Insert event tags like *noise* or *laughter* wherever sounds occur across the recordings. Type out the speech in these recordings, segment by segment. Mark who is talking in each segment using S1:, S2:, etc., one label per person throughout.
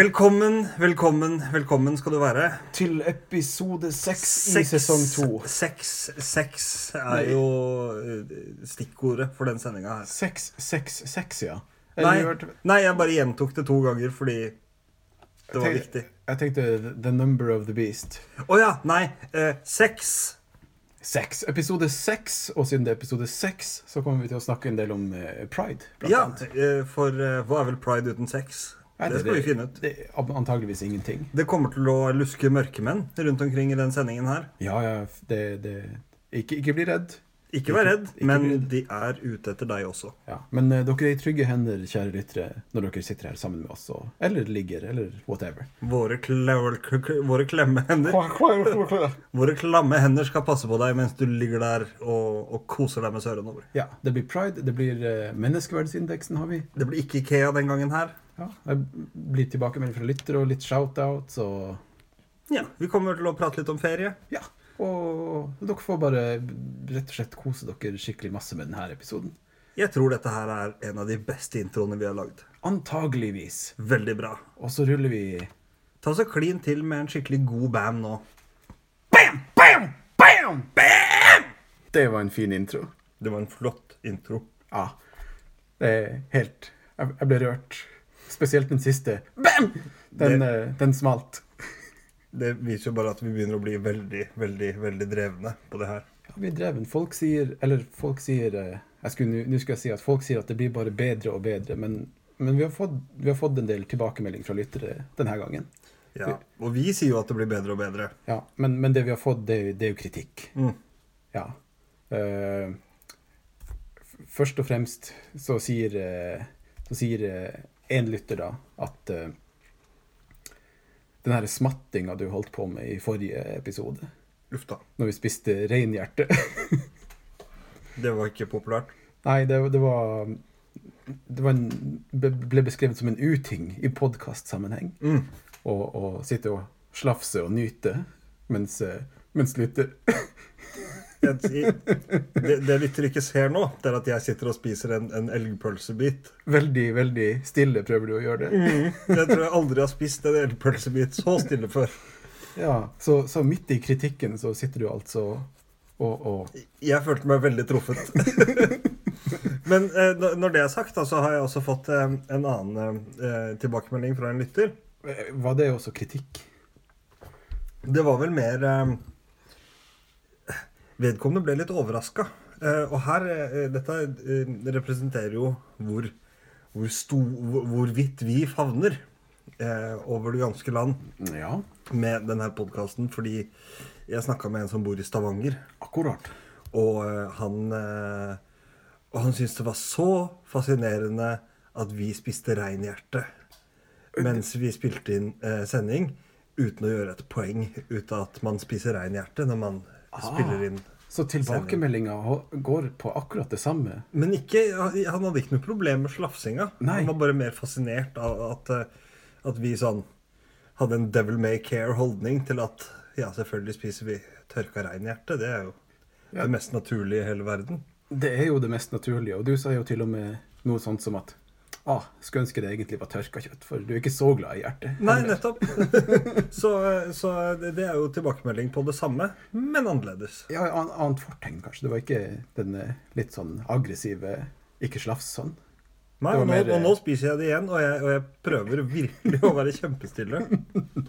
S1: Velkommen, velkommen, velkommen skal du være.
S2: til episode seks i sesong to.
S1: Seks, seks er jo eh, stikkordet for den sendinga her.
S2: Seks, seks, seks, ja. Eller
S1: Nei,
S2: vi hørte-
S1: nei, jeg bare gjentok det to ganger fordi det var
S2: Tenk-
S1: viktig.
S2: Jeg tenkte The Number of the Beast.
S1: Å ja, nei. Eh, seks.
S2: Seks. Episode seks, og siden det er episode seks, så kommer vi til å snakke en del om eh, pride. blant
S1: Ja,
S2: annet.
S1: eh, for eh, hva er vel pride uten sex?
S2: Nei,
S1: Det skal vi finne ut.
S2: Det er ab- antageligvis ingenting.
S1: Det kommer til å luske mørkemenn rundt omkring i den sendingen her.
S2: Ja, ja, f- det, det ikke, ikke bli redd.
S1: Ikke vær redd,
S2: Ikke- ikke
S1: men
S2: bli redd.
S1: de er ute etter deg også.
S2: Ja. Men eh, dere er i trygge hender, kjære lyttere, når dere sitter her sammen med oss, og, eller ligger, eller whatever.
S1: Våre, kle- k- k- våre klemme hender Våre klamme hender skal passe på deg mens du ligger der og, og koser deg med søren over.
S2: Ja, det blir pride, det blir eh, menneskeverdsindeksen har vi.
S1: Det blir ikke Ikea den gangen her.
S2: Ja, jeg blir tilbakemelding fra lyttere og litt shout-outs og
S1: Ja, Vi kommer til å prate litt om ferie.
S2: Ja. Og dere får bare rett og slett kose dere skikkelig masse med denne episoden.
S1: Jeg tror dette her er en av de beste introene vi har lagd.
S2: Antageligvis.
S1: Veldig bra.
S2: Og så ruller vi
S1: Ta så klin til med en skikkelig god bam nå.
S2: Bam! Bam! Bam! Bam! Det var en fin intro.
S1: Det var en flott intro.
S2: Ja. Det er helt Jeg, jeg ble rørt. Spesielt den siste. Bam! Den, eh, den smalt.
S1: Det viser jo bare at vi begynner å bli veldig, veldig, veldig drevne på det her.
S2: Ja, vi er dreven. Folk sier Eller folk sier eh, jeg skulle, nå- Nå skal jeg si at folk sier at det blir bare bedre og bedre, men, men vi, har fått, vi har fått en del tilbakemelding fra lyttere denne gangen.
S1: Ja, Og vi sier jo at det blir bedre og bedre.
S2: Ja, men, men det vi har fått, det, er jo- det er jo kritikk.
S1: Mm.
S2: Ja. Eh, f- først og fremst så sier eh, Så sier én lytter da at eh, den her smattinga du holdt på med i forrige episode,
S1: Uff da.
S2: når vi spiste reinhjerte *laughs*
S1: Det var ikke populært.
S2: Nei, det, det var Det var en, be- ble beskrevet som en uting i podkastsammenheng.
S1: Mm.
S2: Å å sitte og slafse og nyte mens, eh, mens lytter
S1: Jeg, det, det lytter ikke ser nå, det er at jeg sitter og spiser en, en elgpølsebit.
S2: Veldig, veldig stille prøver du å gjøre
S1: Mm.
S2: det.
S1: Jeg tror jeg aldri har spist en elgpølsebit så stille før.
S2: Ja, så, så midt i kritikken så sitter du altså og, og
S1: Jeg følte meg veldig truffet. *laughs* Men eh, når- når det er sagt, da, så har jeg også fått eh, en annen eh, tilbakemelding fra en lytter.
S2: eh, Var det også kritikk?
S1: Det var vel mer eh, Vedkommende ble litt overraska. Eh, og her eh, Dette eh, representerer jo hvor, hvor, sto, hvor, hvor vidt vi favner eh, over det ganske land
S2: Ja,
S1: med denne podkasten, fordi jeg snakka med en som bor i Stavanger,
S2: akkurat.
S1: og eh, han eh, Og han syntes det var så fascinerende at vi spiste reinhjerte mens vi spilte inn eh, sending, uten å gjøre et poeng ut av at man spiser reinhjerte når man
S2: Ah.
S1: spiller inn.
S2: Så tilbakemeldinga går på akkurat det samme.
S1: Men ikke, han hadde ikke noe problem med slafsinga.
S2: Nei.
S1: Han var bare mer fascinert av at, eh, at vi sånn hadde en devil may care-holdning til at ja, selvfølgelig spiser vi tørka reinhjerte. Det er jo
S2: Ja.
S1: det mest naturlige i hele verden.
S2: Det er jo det mest naturlige, og du sa jo til og med noe sånt som at ah, skulle ønske det egentlig var tørka kjøtt, for du er ikke så glad i hjertet.
S1: Nei, nettopp. så, eh, så det det er jo tilbakemelding på det samme, men annerledes.
S2: Ja, an- annet fortegn, kanskje. Det var ikke den eh, litt sånn aggressive ikke slafs sånn.
S1: Nei,
S2: Det var
S1: og,
S2: mer,
S1: nå, og
S2: eh,
S1: nå spiser jeg det igjen, og jeg, og jeg prøver virkelig å være
S2: *laughs*
S1: kjempestille.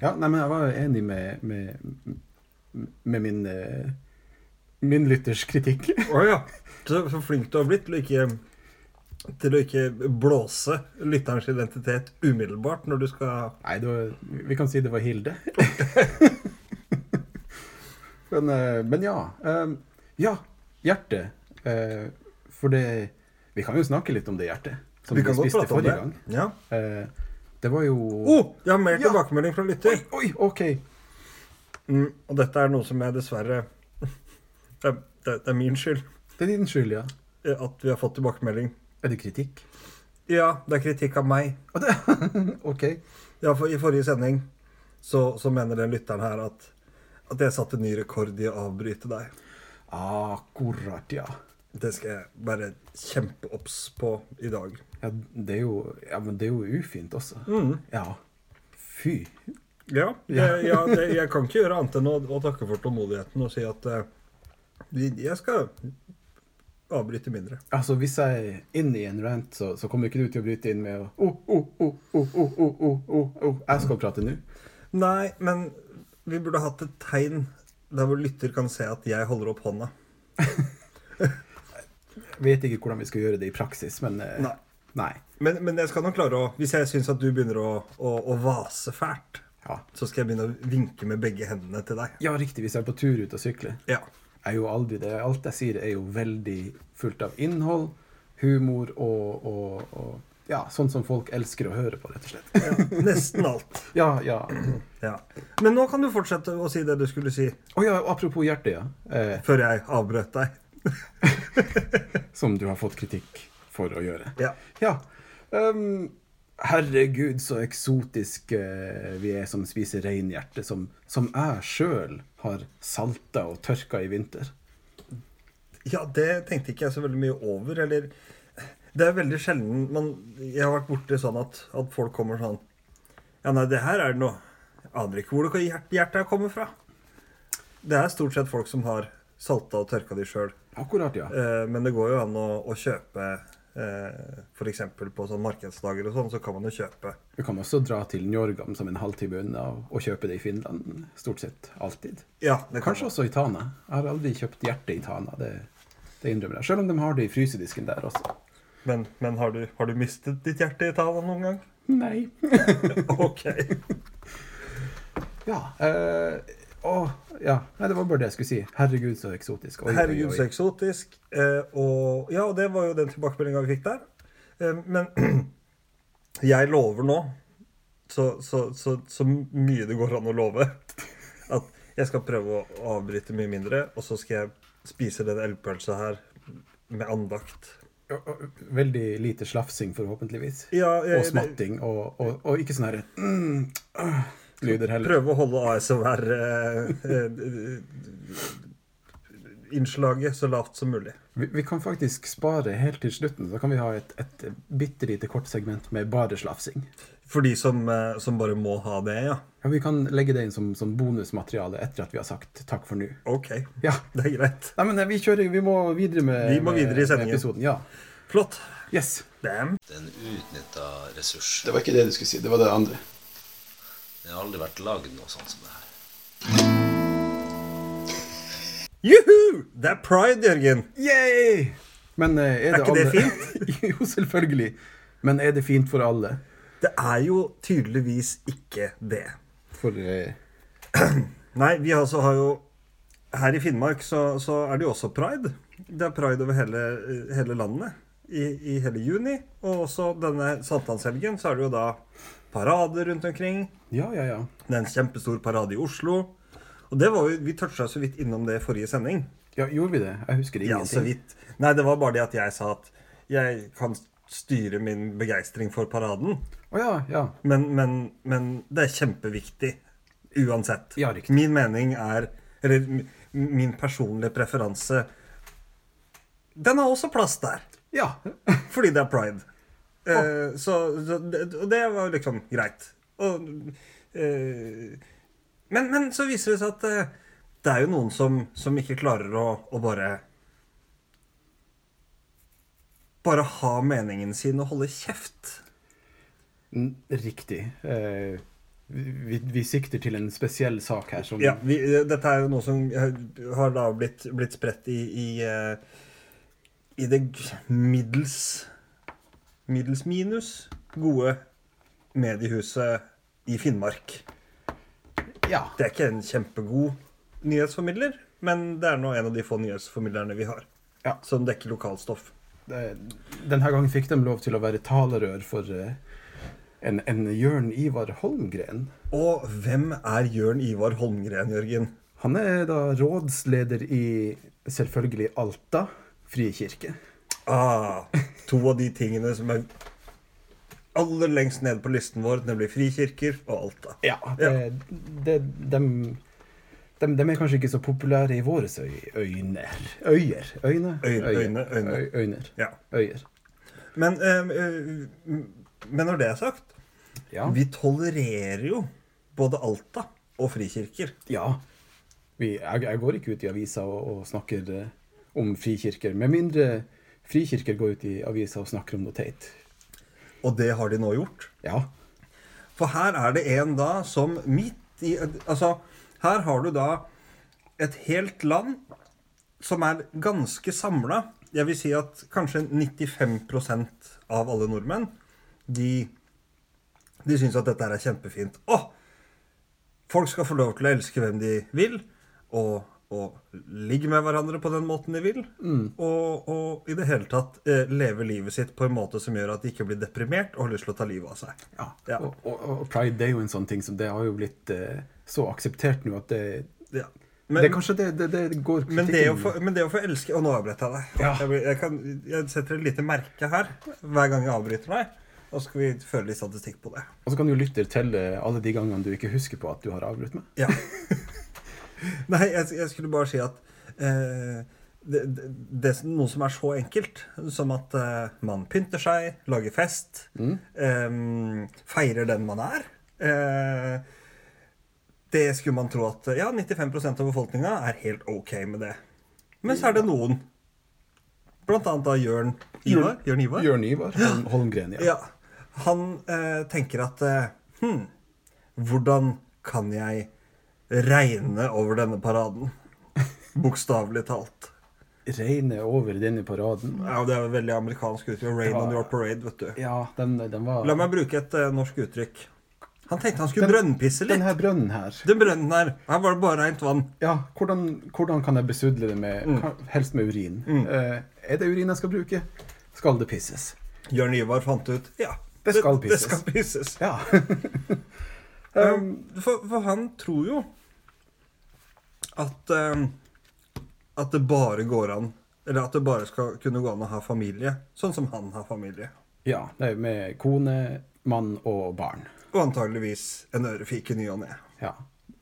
S2: Ja, nei, men jeg var jo enig med, med, med min, eh, min lytters kritikk. *laughs*
S1: Å ja. Så, så flink du har blitt til å ikke til å ikke blåse lytterens identitet umiddelbart når du skal
S2: Nei, det var, vi kan si det var Hilde. *laughs* men, eh, men ja. eh, ja, hjertet. Eh, for det Vi kan jo snakke litt om det hjertet som vi, spiste forrige gang.
S1: Ja.
S2: Eh, det var jo
S1: Oh, jeg har mer
S2: Ja.
S1: tilbakemelding fra lytter.
S2: Oi, oi, OK.
S1: Mm, og dette er noe som jeg dessverre *laughs* det, er- det, det er min skyld
S2: Det er din skyld, ja.
S1: eh, at vi har fått tilbakemelding.
S2: Er det kritikk?
S1: Ja, det er kritikk av meg.
S2: Å, det- OK.
S1: Ja, for I forrige sending så, så mener den lytteren her at, at jeg satte ny rekord i å avbryte deg.
S2: Akkurat, ja.
S1: Det skal jeg være kjempeobs på i dag.
S2: Ja, det er jo, ja, men det er jo ufint også.
S1: Mm.
S2: Ja. Fy.
S1: Ja, jeg, ja det, jeg kan ikke gjøre annet enn å, å takke for tålmodigheten og si at eh, vi- jeg skal avbryte mindre.
S2: Altså, hvis jeg er inne i en rant, så, så kommer ikke du til å bryte inn med å oh, oh, oh, oh, oh, oh, oh, oh, oh. Jeg skal prate nå.
S1: Nei, men vi burde hatt et tegn der hvor lytter kan se at jeg holder opp hånda.
S2: Jeg vet ikke hvordan vi skal gjøre det i praksis, men eh,
S1: Nei.
S2: nei.
S1: Men, men jeg skal nok klare å Hvis jeg syns at du begynner å, å, å vase fælt,
S2: Ja.
S1: så skal jeg begynne å vinke med begge hendene til deg.
S2: ja, riktig. Hvis jeg er på tur ut og sykler.
S1: Ja.
S2: Jeg er jo aldri det. Alt jeg sier, er jo veldig fullt av innhold, humor og, og, og ja, sånn som folk elsker å høre på, rett og slett.
S1: Nesten alt.
S2: Ja, ja.
S1: Ja. Men nå kan du fortsette å si det du skulle si,
S2: Å ja, apropos hjertet, ja. Eh,
S1: før jeg avbrøt deg.
S2: som du har fått kritikk for å gjøre.
S1: Ja.
S2: Ja. ehm, herregud, så eksotisk eh, vi er som spiser reinhjerte, som, som jeg sjøl har salta og tørka i vinter.
S1: Ja, det tenkte ikke jeg så veldig mye over. Eller Det er veldig sjelden man Jeg har vært borti sånn at, at folk kommer sånn Ja, nei, det her er det noe Jeg aner ikke hvor det hjert- hjertet her kommer fra. Det er stort sett folk som har salta og tørka de sjøl.
S2: Akkurat, ja.
S1: Eh, men det går jo an å, å kjøpe eh, F.eks. på sånn markedsdager og sånn, så kan man jo kjøpe
S2: Du kan også dra til Njorgam som en halvtime unna og, og kjøpe det i Finland. Stort sett alltid.
S1: Ja, det kan
S2: Kanskje også i Tana. Jeg har aldri kjøpt hjerte i Tana, det, det innrømmer jeg. Selv om de har det i frysedisken der også.
S1: man. Men, men har, du, har du mistet ditt hjerte i Italia noen gang?
S2: Nei.
S1: OK.
S2: Ja. Eh, åh, ja. Nei, det var bare det jeg skulle si. Herregud, så eksotisk. Oi, oi,
S1: Herregud,
S2: oi.
S1: så eksotisk. Eh, og ja, og det var jo den tilbakemeldinga vi fikk der. Eh, men *clears throat* jeg lover nå, så, så, så, så mye det går an å love, *laughs* at jeg skal prøve å avbryte mye mindre, og så skal jeg spise den elgpølsa her med andakt.
S2: Ja, og Veldig lite slafsing, forhåpentligvis.
S1: Ja, jeg-
S2: og smatting, og, og, og ikke sånne her, mm, øh, lyder heller.
S1: Prøve å holde eh, ASMR-innslaget så lavt som mulig.
S2: Vi, vi kan faktisk spare helt til slutten. Så kan vi ha et, et bitte lite kort segment med bare slafsing.
S1: For de som, eh, som bare må ha det, ja.
S2: Ja, vi kan legge det inn som, som bonusmateriale etter at vi har sagt takk for nå.
S1: OK.
S2: Ja.
S1: Det er greit.
S2: Nei, men vi kjører, vi må videre med,
S1: Vi må videre i
S2: med-
S1: sendingen.
S2: med episoden. Ja.
S1: Flott.
S2: Yes.
S1: Damn.
S3: en utnytta ressurs.
S2: var ikke det du skulle si, det var det andre.
S3: Det har aldri vært lagd noe sånt som det her.
S1: Juhu! Det er pride, Jørgen.
S2: Yay! Men eh, er,
S1: Er ikke det
S2: fint? *laughs* jo, selvfølgelig. Men er det fint for alle?
S1: Det er jo tydeligvis ikke det.
S2: For eh,
S1: Nei, vi altså har jo Her i Finnmark så, så er det jo også pride. Det er pride over hele, hele landet i, i hele juni. Og også denne sankthanshelgen så er det jo da parader rundt omkring.
S2: Ja, ja, ja.
S1: Det er en kjempestor parade i Oslo. Og det var jo, Vi toucha så vidt innom det i forrige sending.
S2: Ja, gjorde vi det? Jeg husker
S1: Ja, så
S2: ingenting.
S1: vidt. Nei, det var bare det at jeg sa at jeg kan styre min begeistring for paraden.
S2: Å ja, ja.
S1: Men, men, men det er kjempeviktig uansett.
S2: Ja, riktig.
S1: Min mening er Eller m- min personlige preferanse Den har også plass der,
S2: Ja. *laughs*
S1: fordi det er pride. Eh, så, så det, og det var jo liksom greit. Og, eh, men, men så viser det seg at eh, det er jo noen som, som ikke klarer å, å bare Bare ha meningen sin og holde kjeft.
S2: N- Mm, Riktig. Eh, vi, vi- vi sikter til en spesiell sak her som
S1: Ja, vi, dette er jo noe som har da blitt, blitt spredt i, i, eh, i det g- middels, middels minus gode mediehuset i Finnmark.
S2: Ja,
S1: Det er ikke en kjempegod nyhetsformidler, men det er nå en av de få nyhetsformidlerne vi har.
S2: Ja.
S1: Som dekker lokalstoff.
S2: eh, Denne gangen fikk de lov til å være talerør for eh, en, en Jørn Ivar Holmgren.
S1: Og hvem er Jørn Ivar Holmgren, Jørgen?
S2: Han er da rådsleder i selvfølgelig Alta frikirke.
S1: Ah, to av de tingene som er aller lengst ned på listen vår, nemlig frikirker og Alta.
S2: Ja. Det, det, dem- dem- dem er kanskje ikke så populære i våre øy, øyner. Øyer. Øyne?
S1: Øy- øyne, øyne.
S2: Øy, øyner.
S1: Ja.
S2: Øyer.
S1: Men, eh, eh, men når det er sagt,
S2: Ja.
S1: vi tolererer jo både Alta og frikirker.
S2: ja. Vi, jeg, jeg går ikke ut i avisa og, og snakker eh, om frikirker, med mindre frikirker går ut i avisa og snakker om noe teit.
S1: Og det har de nå gjort.
S2: Ja.
S1: For her er det en da som midt i Altså, her har du da et helt land som er ganske samla. Jeg vil si at kanskje 95 av alle nordmenn, de, de syns at dette her er kjempefint. Å! Folk skal få lov til å elske hvem de vil, og, og ligge med hverandre på den måten de vil.
S2: Mm.
S1: Og, og i det hele tatt eh, leve livet sitt på en måte som gjør at de ikke blir deprimert og har lyst til å ta livet av seg.
S2: Ja.
S1: Ja.
S2: Og, og, og pride det er jo en sånn ting som det har jo blitt eh, så akseptert nå at det,
S1: Ja. Men,
S2: det er kanskje det, det, det går
S1: men, det å få, men det å få elske Og nå avbrøt jeg deg.
S2: Ja.
S1: Jeg, blir- jeg, kan, jeg setter et lite merke her hver gang jeg avbryter deg. Og så skal vi føre litt statistikk på det.
S2: Og så kan du lytte til eh, alle de gangene du ikke husker på at du har avbrutt meg.
S1: Ja. *laughs* Nei, jeg, jeg skulle bare si at eh, det, det, det er noe som er så enkelt som at eh, man pynter seg, lager fest, eh, feirer den man er. Eh, det skulle man tro at ja, 95 av befolkninga er helt ok med det. Men så er det noen, blant annet da Jørn Ivar. Jørn Ivar?
S2: Jørn Ivar Holm, Holmgren, ja.
S1: Ja. Han eh, tenker at eh, hm, Hvordan kan jeg regne over denne
S2: *laughs*
S1: paraden? Bokstavelig talt.
S2: Reine over denne paraden.
S1: Ja, Det er jo veldig amerikansk uttrykk. Rain on your parade, vet du.
S2: Ja, den, den var
S1: La meg bruke et eh, norsk uttrykk. Han tenkte han skulle brønnpisse
S2: Den
S1: litt.
S2: her brønnen her.
S1: Den brønnen her. Her var det bare rent vann.
S2: Ja, hvordan, hvordan kan jeg besudle det med ka- Helst med urin. Eh, er det urin jeg skal bruke? Skal det pisses?
S1: Jørn Ivar fant ut Ja,
S2: Det skal
S1: Det
S2: pisses.
S1: skal pisses.
S2: Ja. *laughs*
S1: Um, for, for han tror jo at um, At det bare går an Eller at det bare skal kunne gå an å ha familie, sånn som han har familie.
S2: ja. Det er med kone, mann og barn.
S1: Og antageligvis en ørefik i ny og ne.
S2: Ja.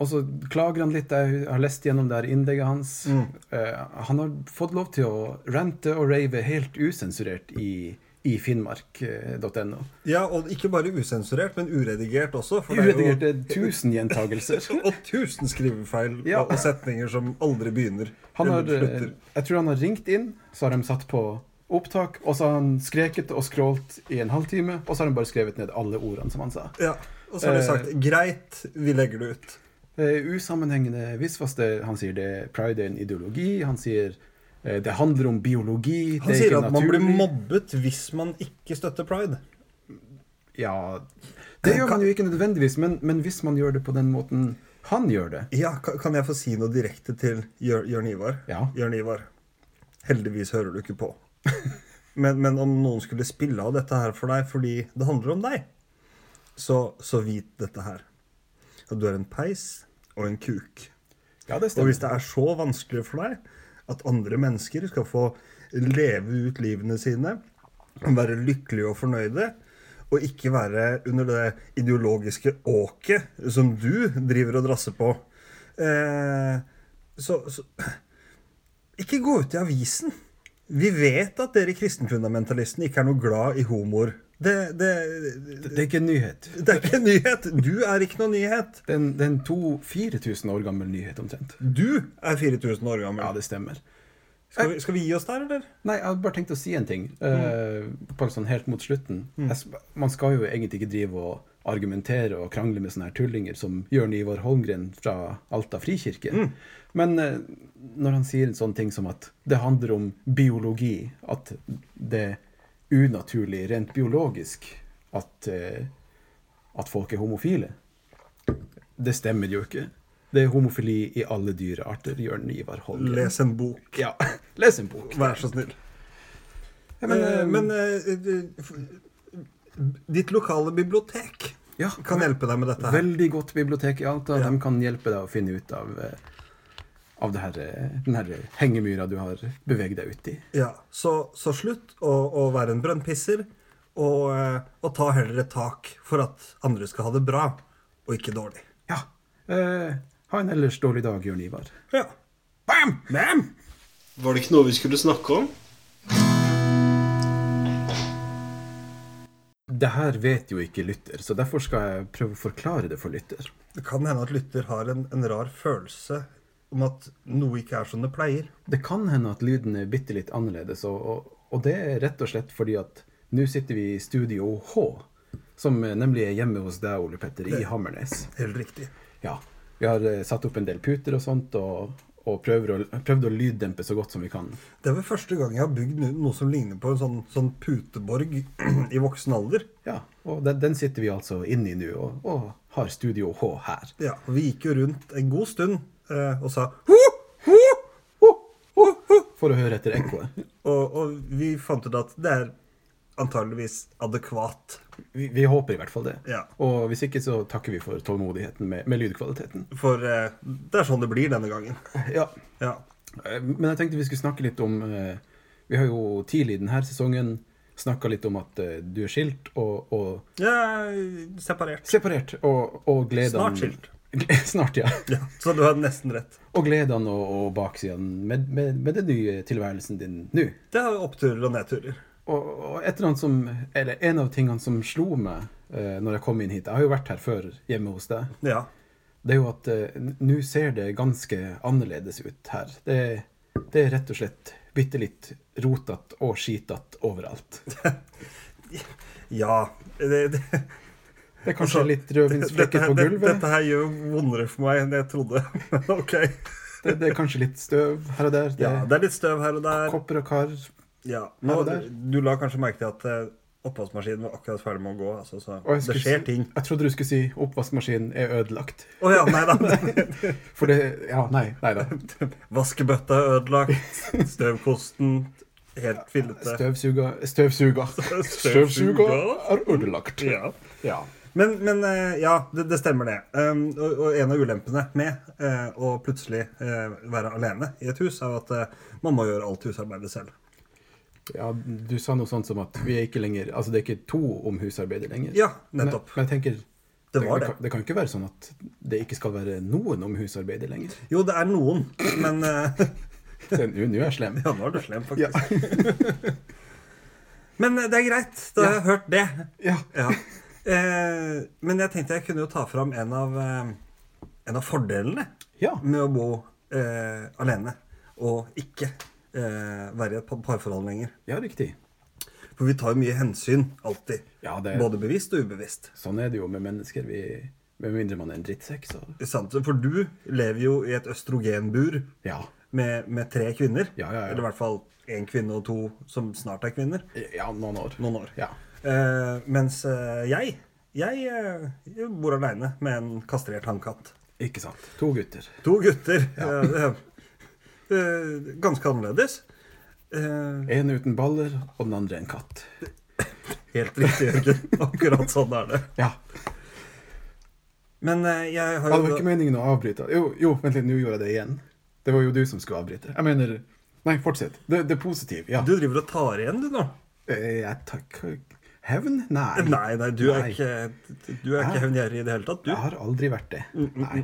S2: Og så klager han litt. Jeg har lest gjennom det her innlegget hans. Eh, han har fått lov til å rante og rave helt usensurert i, i eh, finnmark.no.
S1: Ja, og ikke bare usensurert, men uredigert også. For
S2: Uredigerte
S1: det er
S2: tusen gjentagelser.
S1: jo og tusen skrivefeil
S2: Ja.
S1: og, og setninger som aldri begynner.
S2: Han har,
S1: eller
S2: eh,
S1: slutter.
S2: jeg tror han har ringt inn, så har de satt på opptak, og så har han skreket og skrålt i en halvtime, og så har han bare skrevet ned alle ordene som han sa.
S1: Ja, Og så har de sagt 'greit, vi legger det ut'.
S2: Eh, usammenhengende visvaste. Han sier det er pride er en ideologi. Han sier eh, det handler om biologi.
S1: Han
S2: det er
S1: sier
S2: ikke
S1: at man blir
S2: naturlig.
S1: mobbet hvis man ikke støtter pride.
S2: Ja Det gjør man jo ikke nødvendigvis, men, men hvis man gjør det på den måten han gjør det
S1: Ja, ka- kan jeg få si noe direkte til Jør- Jørn Ivar?
S2: Ja.
S1: Jørn Ivar, heldigvis hører du ikke på. *laughs* Men, men om noen skulle spille av dette her for deg fordi det handler om deg, så, så vit dette her. At du er en peis og en kuk.
S2: Ja, det
S1: Og hvis det er så vanskelig for deg at andre mennesker skal få leve ut livene sine, være lykkelige og fornøyde, og ikke være under det ideologiske åket som du driver og drasser på, eh, så, så Ikke gå ut i avisen. Vi vet at dere kristenfundamentalistene ikke er noe glad i homoer. Det, det,
S2: Det, det er ikke en nyhet.
S1: det er ikke en nyhet. Du er ikke noe nyhet.
S2: Det er en, det er en to- 4000 år gammel nyhet omtrent.
S1: Du er 4000 år gammel.
S2: Ja, det stemmer.
S1: Skal vi, skal vi gi oss der, eller?
S2: Nei, jeg hadde bare tenkt å si en ting, eh, bare sånn helt mot slutten. Jeg sp- man skal jo egentlig ikke drive og argumentere og krangle med sånne her tullinger som Jørn Ivar Holmgren fra Alta frikirke. Men eh, når han sier en sånn ting som at det handler om biologi, at det er unaturlig rent biologisk at, eh, at folk er homofile, det stemmer jo ikke. Det er homofili i alle dyrearter, Jørn Ivar Holmgren.
S1: Les en bok.
S2: Ja, *laughs* les en bok.
S1: Vær så snill.
S2: Ja,
S1: Men,
S2: men, eh,
S1: men eh, du- f- ditt lokale bibliotek
S2: Ja,
S1: kan hjelpe deg med dette her.
S2: Veldig godt bibliotek i Alta. De kan hjelpe deg å finne ut av, eh, av det her, eh, den her hengemyra du har beveget deg ut i.
S1: Ja, så, så slutt å, å være en brønnpisser, og, eh, og ta heller et tak for at andre skal ha det bra, og ikke dårlig.
S2: Ja. Eh, ha en ellers dårlig dag, Jørn Ivar.
S1: Ja.
S2: Bam!
S4: Var det ikke noe vi skulle snakke om?
S2: det her vet jo ikke lytter, så derfor skal jeg prøve å forklare det for lytter.
S1: Det kan hende at lytter har en, en rar følelse om at noe ikke er som det pleier.
S2: Det kan hende at lyden er bitte litt annerledes, og, og, og det er rett og slett fordi at nå sitter vi i Studio H, som eh, nemlig er hjemme hos deg, Ole Petter, i Hammernes.
S1: Helt riktig.
S2: Ja, vi har eh, satt opp en del puter og sånt, og, og prøver å, prøvd å lyddempe så godt som vi kan.
S1: Det er vel første gang jeg har bygd no- noe som ligner på en sånn, sånn puteborg *clears throat* i voksen alder.
S2: Ja, og den, den sitter vi altså inne i nå, og, og har Studio H her.
S1: Ja, og Vi gikk jo rundt en god stund eh, og sa ho, ho!
S2: For å høre etter ekkoet.
S1: Og, og vi fant ut at det er antageligvis adekvat.
S2: Vi, vi håper i hvert fall det.
S1: Ja.
S2: Og hvis ikke, så takker vi for tålmodigheten med, med lydkvaliteten.
S1: For eh, det er sånn det blir denne gangen.
S2: Ja.
S1: Ja.
S2: Eh, Men jeg tenkte vi skulle snakke litt om eh, Vi har jo tidlig denne sesongen snakka litt om at eh, du er skilt og, og
S1: Jeg er separert.
S2: separert, og, og gledene
S1: Snart skilt.
S2: *laughs* Snart, ja.
S1: Ja, så du har nesten rett.
S2: Og gledene og, og baksidene med, med, med den nye tilværelsen din nå.
S1: Det er oppturer og nedturer.
S2: Og, og et eller annet som, eller en av tingene som slo meg eh, når jeg kom inn hit Jeg har jo vært her før hjemme hos deg.
S1: Ja.
S2: Det er jo at eh, n- nå ser det ganske annerledes ut her. Det, det er rett og slett bitte litt rotete og skitete overalt.
S1: Ja. Det, det,
S2: Det er kanskje litt rødvinsflekker
S1: her-
S2: på
S1: det-
S2: gulvet.
S1: Altså, dette her gjør vondere for meg enn jeg trodde. *laughs* Men OK.
S2: Det, det er kanskje litt støv her og der. Det
S1: Ja,
S2: er
S1: det er litt støv her og der.
S2: kopper og kar.
S1: Ja. Nå,
S2: Her og der.
S1: du la kanskje merke til at eh, oppvaskmaskinen var akkurat ferdig med å gå. Altså, så
S2: Og jeg
S1: det
S2: skulle
S1: skjer
S2: si-
S1: ting.
S2: Jeg trodde du skulle si oppvaskmaskinen er ødelagt.
S1: Å ja, nei da. *laughs*
S2: *laughs* For det Ja, nei. Nei da.
S1: Vaskebøtta er ødelagt. Støvkosten helt fillete.
S2: Støvsuger
S1: *laughs*
S2: Støvsuger. Støvsuger er ødelagt.
S1: Ja.
S2: Ja.
S1: Men, men eh, ja, det, det stemmer det. Um, og, og en av ulempene med eh, å plutselig eh, være alene i et hus, er jo at eh, man må gjøre alt husarbeidet selv.
S2: ja. Du sa noe sånt som at vi er ikke lenger Altså, det er ikke to om husarbeidet lenger.
S1: Ja, nettopp.
S2: Men, men jeg tenker
S1: Det var det.
S2: kan, det kan ikke være sånn at det ikke skal være noen om husarbeidet lenger.
S1: Jo, det er noen, men eh, *laughs*
S2: Det- Nå nå er jeg slem.
S1: Ja, *laughs* nå er du slem,
S2: Ja.
S1: faktisk. *laughs* Men eh, det er greit. Da har jeg hørt det.
S2: ja.
S1: Ja. Eh, men jeg tenkte jeg kunne jo ta fram en av, eh, en av fordelene
S2: ja.
S1: med å bo eh, alene og ikke eh, være i et pa- parforhold lenger.
S2: Ja, riktig.
S1: For vi tar jo mye hensyn, alltid.
S2: Ja, det-
S1: Både bevisst og ubevisst.
S2: Sånn er det jo med mennesker. Vi, med mindre man er en drittsekk, så
S1: Sant? For du lever jo i et østrogenbur
S2: ja.
S1: med, med tre kvinner.
S2: Ja, ja, ja.
S1: Eller i hvert fall én kvinne og to som snart er kvinner.
S2: ja. Noen år.
S1: Noen år.
S2: Ja.
S1: Eh, mens eh, jeg jeg eh, jeg bor aleine med en kastrert hannkatt.
S2: Ikke sant. To gutter.
S1: To gutter. eh, eh, ganske annerledes. Eh,
S2: En uten baller, og den andre en katt.
S1: helt riktig, Jørgen. *laughs* Akkurat sånn er det.
S2: Ja.
S1: Men eh, jeg har
S2: ja. Det
S1: jo
S2: var ikke meningen å avbryte. Jo, jo vent litt, nå gjorde jeg det igjen. Det var jo du som skulle avbryte. Jeg mener Nei, fortsett. Det, det er positivt. Ja.
S1: Du driver og tar igjen, du nå.
S2: Eh, Jeg takker Hevn? Nei.
S1: *laughs* Nei, nei, du er
S2: Nei.
S1: ikke, du er ikke hevngjerrig i det hele tatt, du. Mm,
S2: Jeg har aldri vært det. Nei.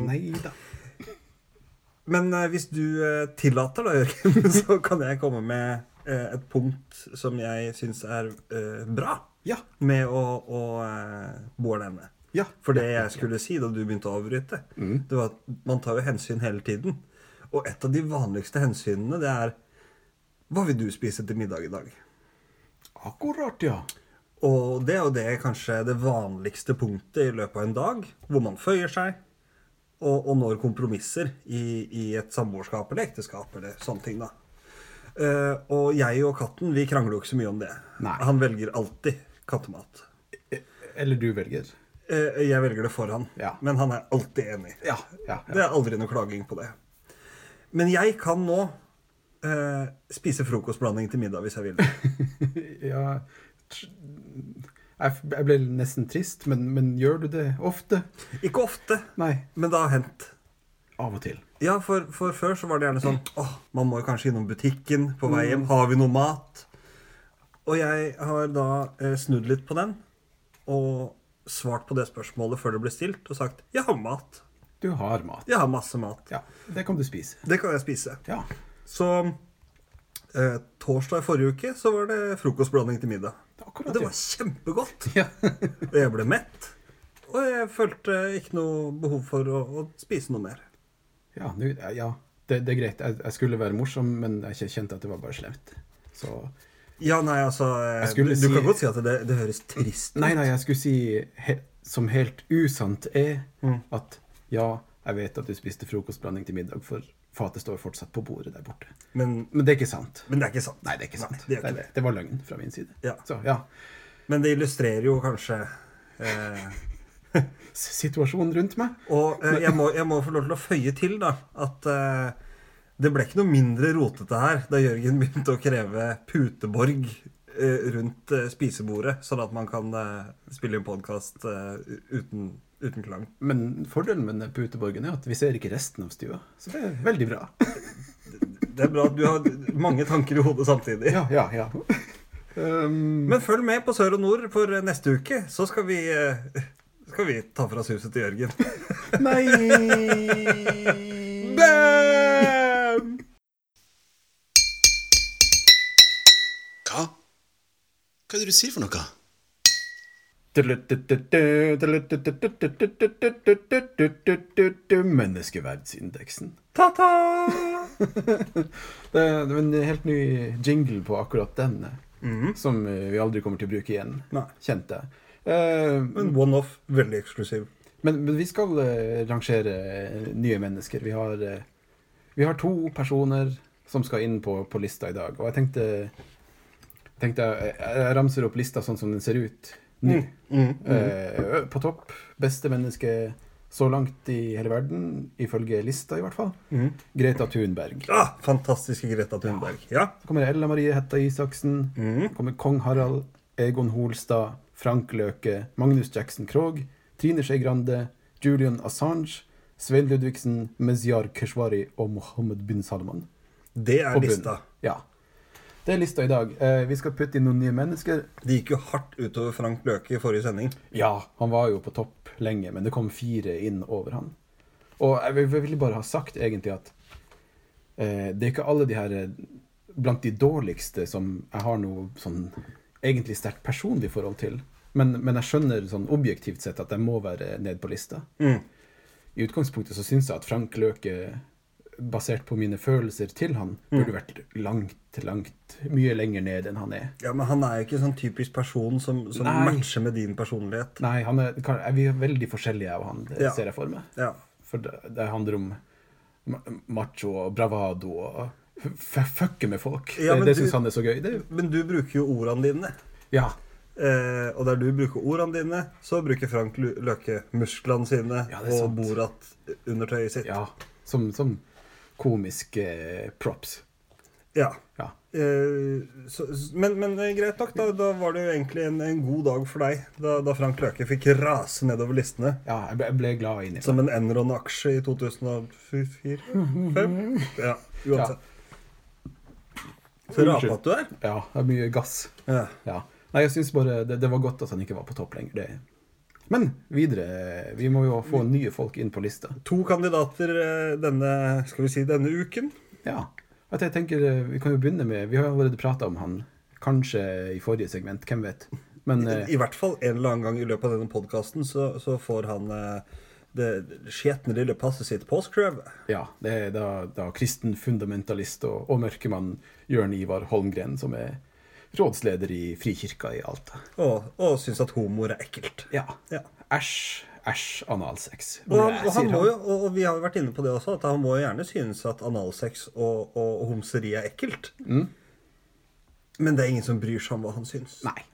S2: Nei da.
S1: Men eh, hvis du eh, tillater da, Jørgen, *laughs* så kan jeg komme med eh, et punkt som jeg syns er eh, bra
S2: Ja.
S1: med å, å eh, bo alene.
S2: Ja. Mm.
S1: For det jeg skulle si da du begynte å avbryte, det var at man tar jo hensyn hele tiden. Og et av de vanligste hensynene, det er Hva vil du spise til middag i dag?
S2: Akkurat, ja.
S1: Og det er jo det kanskje det vanligste punktet i løpet av en dag, hvor man føyer seg, og, og når kompromisser i, i et samboerskap eller ekteskap eller sånne ting, da. Eh, og jeg og katten, vi krangler jo ikke så mye om det.
S2: Nei.
S1: Han velger alltid kattemat.
S2: Eh, Eller du velger.
S1: Eh, jeg velger det for han,
S2: Ja.
S1: men han er alltid enig.
S2: Ja. ja, *laughs* ja.
S1: Det er aldri noe klaging på det. Men jeg kan nå eh, spise frokostblanding til middag hvis jeg vil.
S2: *laughs* Ja tr- Jeg f- jeg ble nesten trist, men, men gjør du det ofte?
S1: Ikke ofte,
S2: Nei.
S1: men det har hendt.
S2: Av og til.
S1: Ja, for, for før så var det gjerne sånn Åh, man må jo kanskje innom butikken på vei
S2: Mm.
S1: hjem. Har vi noe mat? Og jeg har da eh, snudd litt på den og svart på det spørsmålet før det ble stilt, og sagt jeg har mat.
S2: Du har mat.
S1: Jeg har masse mat.
S2: Ja. Det kan du spise.
S1: Det kan jeg spise.
S2: Ja.
S1: Så eh, torsdag i forrige uke så var det frokostblanding til middag.
S2: Akkurat,
S1: Det
S2: ja.
S1: var kjempegodt.
S2: Ja. *laughs*
S1: Og jeg ble mett. Og jeg følte ikke noe behov for å, å spise noe mer.
S2: Ja, nu, eh, ja det, det er greit. Jeg, jeg skulle være morsom, men jeg kj- kjente at det var bare slemt. Så
S1: Ja, nei, altså eh,
S2: Jeg skulle
S1: Du
S2: si-
S1: kan godt si at det, det høres trist ut.
S2: Nei, nei, jeg skulle si, he, som helt usant er,
S1: Mm.
S2: at ja, jeg vet at du spiste frokostblanding til middag, for fatet står fortsatt på bordet der borte.
S1: Men,
S2: Men det er ikke sant.
S1: men det er ikke sant.
S2: Nei, det er ikke sant.
S1: det, er
S2: det,
S1: ikke det.
S2: det var løgn fra min side.
S1: Ja.
S2: Så ja,
S1: Men det illustrerer jo kanskje eh,
S2: s- situasjonen rundt meg.
S1: Og eh, jeg, må, jeg må få lov til å føye til da, at eh, det ble ikke noe mindre rotete her da Jørgen *laughs* begynte å kreve puteborg eh, rundt eh, spisebordet, sånn at man kan eh, spille inn podkast eh, uten, uten klang.
S2: Men fordelen med den puteborgen er at vi ser ikke resten av stua, så det er veldig
S1: *laughs*
S2: bra.
S1: Det er bra at du har mange tanker i hodet samtidig.
S2: Ja, ja,
S1: *laughs*
S2: ja. Um,
S1: Men følg med på Sør og Nord for eh, neste uke, så skal vi, eh, skal vi ta fra suset til Jørgen.
S2: *laughs* nei
S1: Bam!
S3: Hva? Hva er det du sier for noe?
S2: Menneskeverdsindeksen.
S1: Ta-ta!
S2: Det er det er en helt ny jingle på akkurat den, eh, som eh, vi aldri kommer til å bruke igjen.
S1: Nei.
S2: Kjente jeg. Eh,
S1: En one-off, veldig eksklusiv.
S2: Men, men vi skal eh, rangere eh, nye mennesker. Vi har, eh, vi har to personer som skal inn på, på lista i dag. Og jeg tenkte, tenkte jeg, jeg ramser opp lista sånn som den ser ut nå. Eh, på topp, beste menneske så langt i hele verden, ifølge lista i hvert fall. Greta Thunberg.
S1: Ah, fantastiske Greta Thunberg. Ja.
S2: Så kommer Ella Marie Hetta Isaksen.
S1: Mm.
S2: kommer Kong Harald, Egon Holstad, Frank Løke, Magnus Jackson Krogh, Trine Skei Grande, Julian Assange, Svein Ludvigsen, Mezyar Keshvari og Mohammed bin Salman.
S1: Det er
S2: På bunnen.
S1: lista.
S2: Ja. Det er lista i dag. Eh, vi skal putte inn noen nye mennesker.
S1: Det gikk jo hardt utover Frank Løke i forrige sending.
S2: Ja, han var jo på topp lenge, men det kom fire inn over han. Og jeg vil- jeg ville bare ha sagt egentlig at eh, det er ikke alle de her eh, blant de dårligste som jeg har noe sånn egentlig sterkt personlig forhold til. Men, men jeg skjønner sånn objektivt sett at jeg må være ned på lista. I utgangspunktet så syns jeg at Frank Løke, basert på mine følelser til han, burde vært langt, langt mye lenger ned enn han er.
S1: Ja, Men han er jo ikke sånn typisk person som, som
S2: Nei.
S1: matcher med din personlighet.
S2: Nei, han er, kan- er vi er veldig forskjellige av han, det
S1: Ja.
S2: ser jeg for meg.
S1: Ja.
S2: For det, det handler om ma- macho og bravado og f- f- fucke med folk.
S1: Ja, men
S2: det det
S1: du-
S2: syns han er så gøy. Det, er jo-
S1: Men du bruker jo ordene dine.
S2: ja.
S1: Eh, og der du bruker ordene dine, så bruker Frank Lu- Løke musklene sine
S2: Ja, det
S1: og
S2: er sant.
S1: Borat-undertøyet sitt.
S2: ja. Som, som komiske props.
S1: Ja.
S2: Ja.
S1: Eh, så, s- men, men eh, greit nok, da, da var det jo egentlig en, en god dag for deg da, da Frank Løke fikk rase nedover listene.
S2: ja jeg, ble, jeg ble glad inni det.
S1: Som en Enron-aksje i 2004? Fem? Ja, uansett. Så
S2: Unnskyld.
S1: rapete du er.
S2: Ja, det er mye gass.
S1: Ja.
S2: Ja. Nei, jeg syns bare det, det var godt at han ikke var på topp lenger. Det. Men videre. Vi må jo få nye folk inn på lista.
S1: To kandidater eh, denne, skal vi si, denne uken.
S2: Ja. At jeg tenker eh, Vi kan jo begynne med Vi har jo allerede prata om han, kanskje i forrige segment, hvem vet. Men eh,
S1: I hvert fall en eller annen gang i løpet av denne podkasten så, så får han eh, det skjetne lille passet sitt påskrevet.
S2: Ja, det er da, da kristen fundamentalist og, og mørkemann Jørn Ivar Holmgren, som er rådsleder i Frikirka i Alta.
S1: Og, og syns at homoer er ekkelt.
S2: Ja.
S1: Ja.
S2: Æsj, æsj, analsex.
S1: Og, han,
S2: Blæ,
S1: og, han
S2: sier
S1: må jo, og og vi har jo vært inne på det også, at han må jo gjerne synes at analsex og, og homseri er ekkelt.
S2: Mm.
S1: Men det er ingen som bryr seg om hva han syns.
S2: Nei.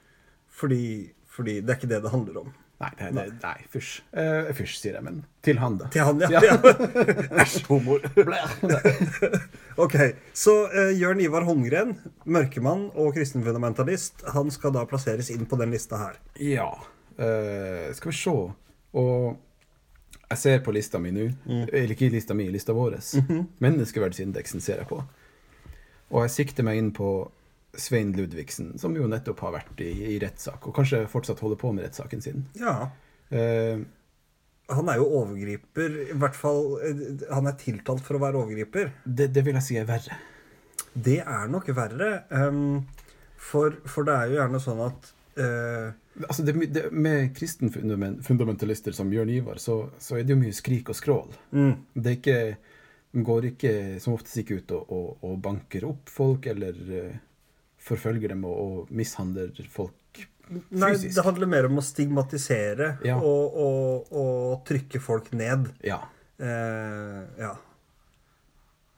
S1: Fordi, fordi det er ikke det det handler om.
S2: Nei, det, det, nei fysj. Eh, fysj, sier jeg, men til han, da.
S1: Til han, ja. *laughs*
S2: Ja. *laughs*
S1: Æsj, homoer. *laughs* ok, så eh, Jørn Ivar Holmgren, mørkemann og kristenfundamentalist, han skal da plasseres inn på den lista her.
S2: Ja. Eh, skal vi se. Og jeg ser på lista mi nå. Eller ikke lista mi, lista vår. Menneskeverdsindeksen ser jeg på. Og jeg sikter meg inn på Svein Ludvigsen, som jo nettopp har vært i, i rettssak, og kanskje fortsatt holder på med rettssaken sin.
S1: Ja,
S2: Eh,
S1: han er jo overgriper, i hvert fall eh, Han er tiltalt for å være overgriper.
S2: det, det vil jeg si er verre.
S1: Det er nok verre. ehm, for, for det er jo gjerne sånn at Eh,
S2: Altså det, er my- det, med kristen fundament, fundamentalister som Bjørn Ivar, så, så er det jo mye skrik og skrål. Det er ikke, de går ikke som oftest ikke ut og, og, og banker opp folk eller eh, forfølger dem og, og mishandler folk
S1: nei,
S2: fysisk.
S1: det handler mer om å stigmatisere
S2: Ja.
S1: og, og, og trykke folk ned.
S2: Ja.
S1: Eh, ja.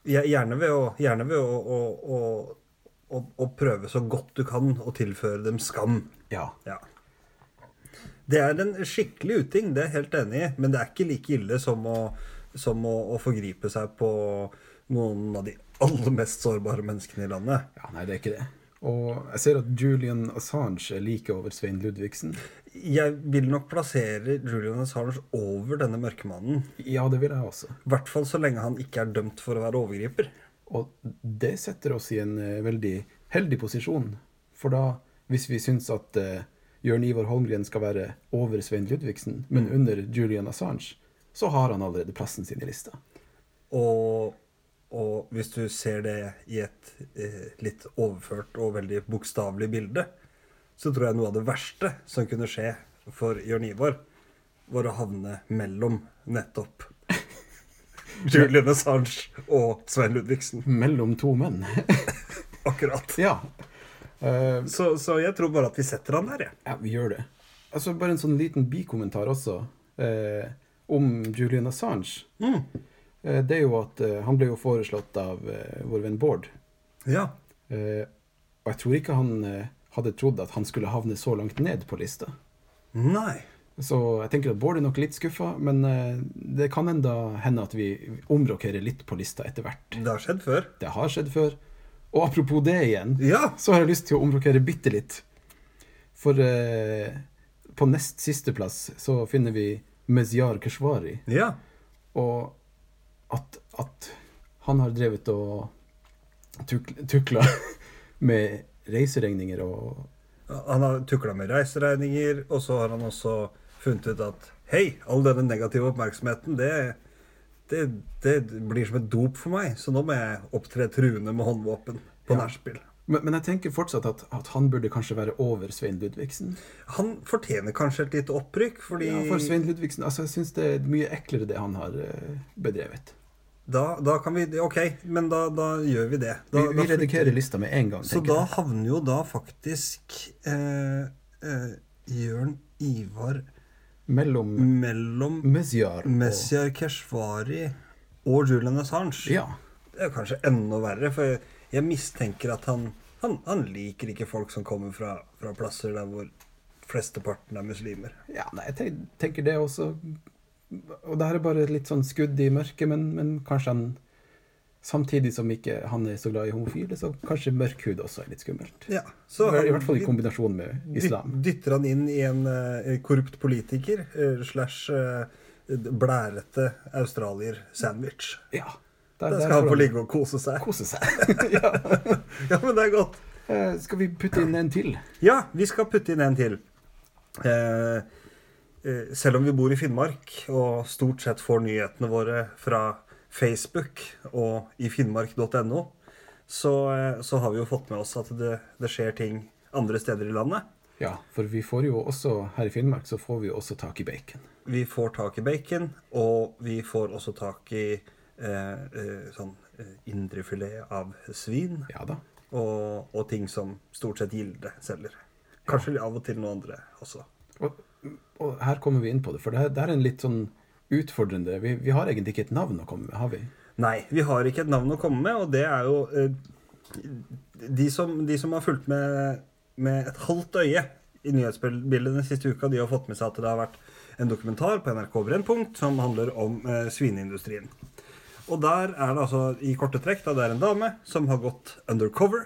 S1: Gjer- Gjerne ved, å, gjerne ved å, å, å, å, å prøve så godt du kan å tilføre dem skam.
S2: ja.
S1: Ja. Det er en skikkelig uting, det er jeg helt enig i, men det er ikke like ille som å, som å, å forgripe seg på noen av de aller mest sårbare menneskene i landet.
S2: Ja, nei, det er ikke det. Og jeg ser at Julian Assange er like over Svein Ludvigsen.
S1: Jeg vil nok plassere Julian Assange over denne mørkemannen.
S2: Ja, det vil jeg også.
S1: I hvert fall så lenge han ikke er dømt for å være overgriper.
S2: Og det setter oss i en eh, veldig heldig posisjon. For da, hvis vi syns at eh, Jørn Ivar Holmgren skal være over Svein Ludvigsen, men under Julian Assange, så har han allerede plassen sin i lista.
S1: Og, og hvis du ser det i et eh, litt overført og veldig bokstavelig bilde, så tror jeg noe av det verste som kunne skje for Jørn Ivar, var å havne mellom nettopp Julian Assange og Svein Ludvigsen.
S2: Mellom to menn. *laughs*
S1: Akkurat.
S2: ja. Eh,
S1: Så, så jeg tror bare at vi setter han der, jeg.
S2: ja, vi gjør det. Altså, bare en sånn liten bikommentar også eh, om Julian Assange. Eh, det er jo at eh, han ble jo foreslått av eh, vår venn Bård.
S1: Ja.
S2: Eh, og jeg tror ikke han eh, hadde trodd at han skulle havne så langt ned på lista.
S1: Nei.
S2: Så jeg tenker at Bård er nok litt skuffa, men eh, det kan enda hende at vi omrokerer litt på lista etter hvert.
S1: Det har skjedd før.
S2: Det har skjedd før. Og apropos det igjen,
S1: Ja.
S2: så har jeg lyst til å omrokere bitte litt. For eh, på nest siste plass så finner vi Mezyar Keshvari.
S1: Ja.
S2: Og at, at han har drevet og tuk- tukla *laughs* med reiseregninger og
S1: Han har tukla med reiseregninger, og så har han også funnet ut at hei, all denne negative oppmerksomheten, det, det, det blir som et dop for meg, så nå må jeg opptre truende med håndvåpen på nachspiel.
S2: men, men jeg tenker fortsatt at, at han burde kanskje være over Svein Ludvigsen.
S1: Han fortjener kanskje et lite opprykk, fordi
S2: Ja, for Svein Ludvigsen, altså Jeg syns det er mye eklere det han har eh, bedrevet.
S1: da, da kan vi OK, men da, da gjør vi det. Da,
S2: Vi, vi
S1: da flytter-
S2: redikerer lista med en gang.
S1: Så
S2: tenker
S1: da
S2: jeg.
S1: havner jo da faktisk eh, eh, Jørn Ivar
S2: Mellom
S1: mellom
S2: Mezyar og
S1: Messiar Keshvari og Julian Assange.
S2: Ja.
S1: Det er kanskje enda verre, for jeg, jeg mistenker at han, han, han liker ikke folk som kommer fra, fra plasser der hvor flesteparten er muslimer.
S2: ja nei, jeg ten- tenker det også. Og det her er bare et litt sånn skudd i mørket, men, men kanskje han Samtidig som ikke han er så glad i homofile, så kanskje mørk hud også er litt skummelt.
S1: Ja, så
S2: I hvert fall i
S1: vi
S2: kombinasjon med islam.
S1: dyt- dytter han inn i en eh, korrupt politiker eh, slash eh, blærete australier-sandwich.
S2: Ja.
S1: Der skal han få ligge og kose seg.
S2: *laughs*
S1: *laughs*
S2: kose seg. ja.
S1: Ja, men det er godt.
S2: Eh, Skal vi putte inn en til?
S1: Ja, vi skal putte inn en til. Eh, eh, selv om vi bor i Finnmark og stort sett får nyhetene våre fra Facebook og i finnmark.no, så, eh, så har vi jo fått med oss at det, det skjer ting andre steder i landet.
S2: Ja, for vi får jo også her i Finnmark så får vi jo også tak i bacon.
S1: Vi får tak i bacon, og vi får også tak i eh, eh, sånn eh, indrefilet av svin
S2: Ja da.
S1: og, og ting som stort sett Gilde selger. Kanskje av og til noen andre også.
S2: Og, og her kommer vi inn på det, for det, her- det her er en litt sånn utfordrende vi, vi har egentlig ikke et navn å komme med, har vi?
S1: Nei, vi har ikke et navn å komme med, og det er jo eh, De som, de som har fulgt med med et halvt øye i nyhetsbildet den siste uka, de har fått med seg at det har vært en dokumentar på NRK Brennpunkt som handler om eh, svineindustrien. Og der er det altså i korte trekk da, det er en dame som har gått undercover.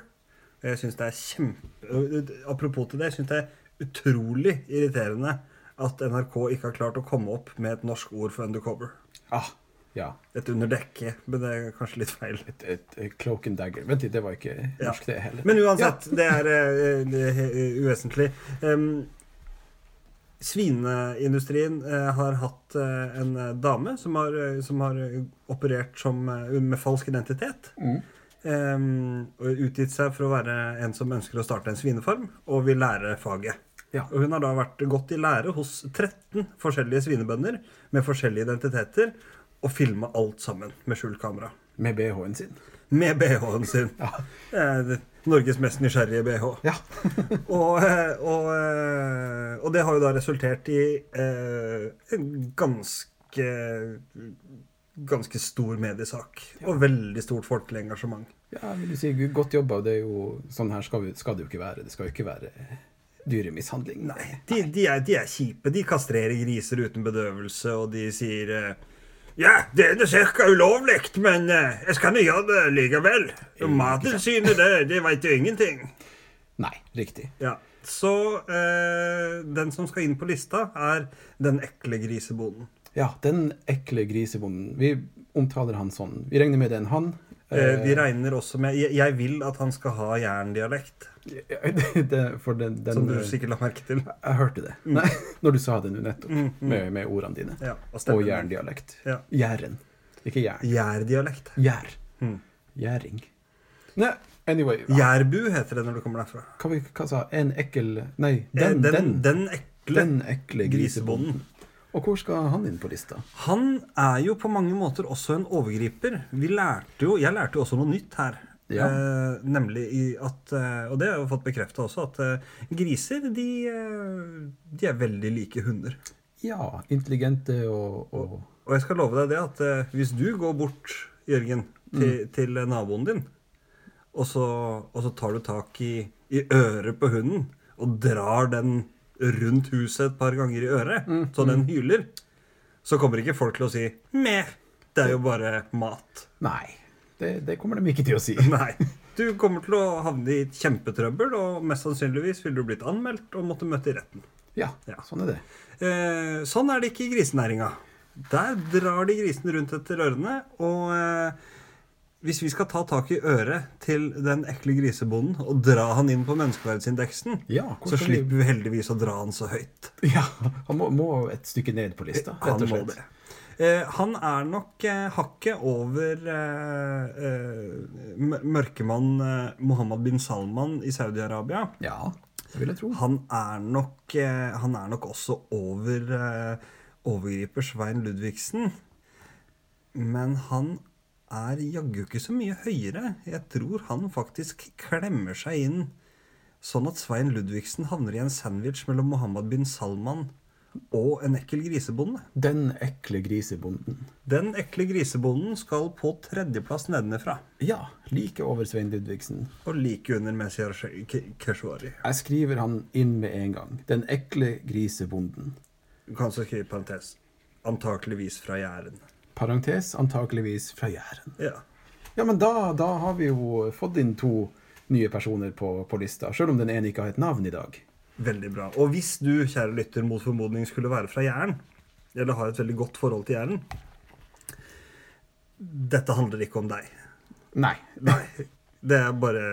S1: Og Jeg synes det er kjempe... eh, Apropos til det, jeg syns det er utrolig irriterende at NRK ikke har klart å komme opp med et norsk ord for undercover.
S2: Ah, ja.
S1: Et underdekke, men det er kanskje litt feil.
S2: Et, et, et cloak and dagger. Vent litt, det var ikke
S1: Ja.
S2: norsk, det heller.
S1: Men uansett, det er eh, det er, eh, uvesentlig. Em, svineindustrien eh, har hatt eh, en eh, dame som har, eh, som har eh, operert som, eh, med falsk identitet.
S2: Mm.
S1: Em, og utgitt seg for å være en som ønsker å starte en svinefarm, og vil lære faget.
S2: Ja.
S1: Og hun har da vært gått i lære hos 13 forskjellige svinebønder med forskjellige identiteter og filma alt sammen med skjult kamera.
S2: Med BH-en sin.
S1: Med BH-en sin. Eh, det- Norges mest nysgjerrige BH.
S2: Ja.
S1: Og, eh, og, eh, og det har jo da resultert i eh, en ganske Ganske stor mediesak. Og veldig stort folkelig engasjement.
S2: *laughs* ja, vil du si gud, godt jobba. Det er jo, sånn her skal, vi, skal det jo ikke være. Det skal jo ikke være dyremishandling.
S1: Nei, de, de, er, de er kjipe. De kastrerer griser uten bedøvelse, og de sier eh, Ja, det er det cirka ulovlig, men eh, jeg skal nå gjøre det likevel. Og Mattilsynet, det, det veit jo ingenting.
S2: Nei, riktig.
S1: Ja, Så eh, den som skal inn på lista, er den ekle grisebonden.
S2: Ja, den ekle grisebonden. Vi omtaler han sånn. Vi regner med det er en han.
S1: Eh, vi regner også med Jeg, jeg vil at han skal ha jerndialekt,
S2: *laughs* det, for den, den,
S1: som du sikkert la merke til.
S2: Jeg hørte det Nei, *laughs* når du sa det nå nettopp, med, med ordene dine.
S1: Mm, Ja, og
S2: og
S1: stemmen.
S2: jerndialekt.
S1: Ja.
S2: Jæren. Ikke jern.
S1: Gjærdialekt.
S2: Gjær.
S1: Mm.
S2: Gjæring. Nei, anyway. Hva,
S1: Gjærbu heter det når du kommer derfra.
S2: hva, vi- hva sa En ekkel Nei,
S1: Eh,
S2: den,
S1: den,
S2: den, den,
S1: den ekle
S2: ekle grisebonden.
S1: grisebonden.
S2: Og hvor skal han inn på lista?
S1: Han er jo på mange måter også en overgriper. Vi lærte jo, jeg lærte jo også noe nytt her.
S2: Ja.
S1: Eh, nemlig i at eh, Og det har jeg jo fått bekrefta også, at eh, griser de, eh, de er veldig like hunder.
S2: Ja, intelligente og, og
S1: Og jeg skal love deg det at eh, hvis du går bort, Jørgen, til, til eh, naboen din, og så, og så tar du tak i, i øret på hunden og drar den rundt huset et par ganger i øret, så den hyler, så kommer ikke folk til å si 'meh'. Det er jo bare mat. *laughs*
S2: Nei. Det, det kommer de ikke til å si.
S1: Nei. Du kommer til å havne i et kjempetrøbbel, og mest sannsynligvis ville du blitt anmeldt og måtte møte i retten.
S2: Ja,
S1: Ja.
S2: sånn er det.
S1: Eh, sånn er det ikke i grisenæringa. Der drar de grisene rundt etter ørene. Og eh, hvis vi skal ta tak i øret til den ekle grisebonden og dra han inn på menneskeverdsindeksen,
S2: Ja, hvor
S1: så
S2: skal vi-
S1: slipper vi heldigvis å dra han så høyt.
S2: Ja, Han må, må et stykke ned på lista,
S1: Han
S2: rett og
S1: må
S2: slett.
S1: det. Eh, han er nok eh, hakket over eh, eh, mør- mørkemann eh, Mohammed bin Salman i Saudi-Arabia.
S2: Ja, det vil jeg tro.
S1: Han er nok, eh, han er nok også over eh, overgriper Svein Ludvigsen. Men han er jaggu ikke så mye høyere. Jeg tror han faktisk klemmer seg inn sånn at Svein Ludvigsen havner i en sandwich mellom Mohammed bin Salman og en ekkel grisebonde.
S2: Den ekle grisebonden.
S1: Den ekle grisebonden skal på tredjeplass nedenfra.
S2: Ja, like over Svein Ludvigsen.
S1: Og like under Mesiar Keshvari.
S2: Jeg skriver han inn med en gang. Den ekle grisebonden.
S1: Du kan også skrive i parentes. Antakeligvis fra Jæren.
S2: Parentes antakeligvis fra Jæren.
S1: Ja.
S2: Ja, men da, da har vi jo fått inn to nye personer på, på lista, sjøl om den ene ikke har et navn i dag.
S1: Veldig bra. Og hvis du, kjære lytter, mot formodning skulle være fra Jæren, eller har et veldig godt forhold til Jæren Dette handler ikke om deg.
S2: Nei.
S1: Nei. *laughs* Det er bare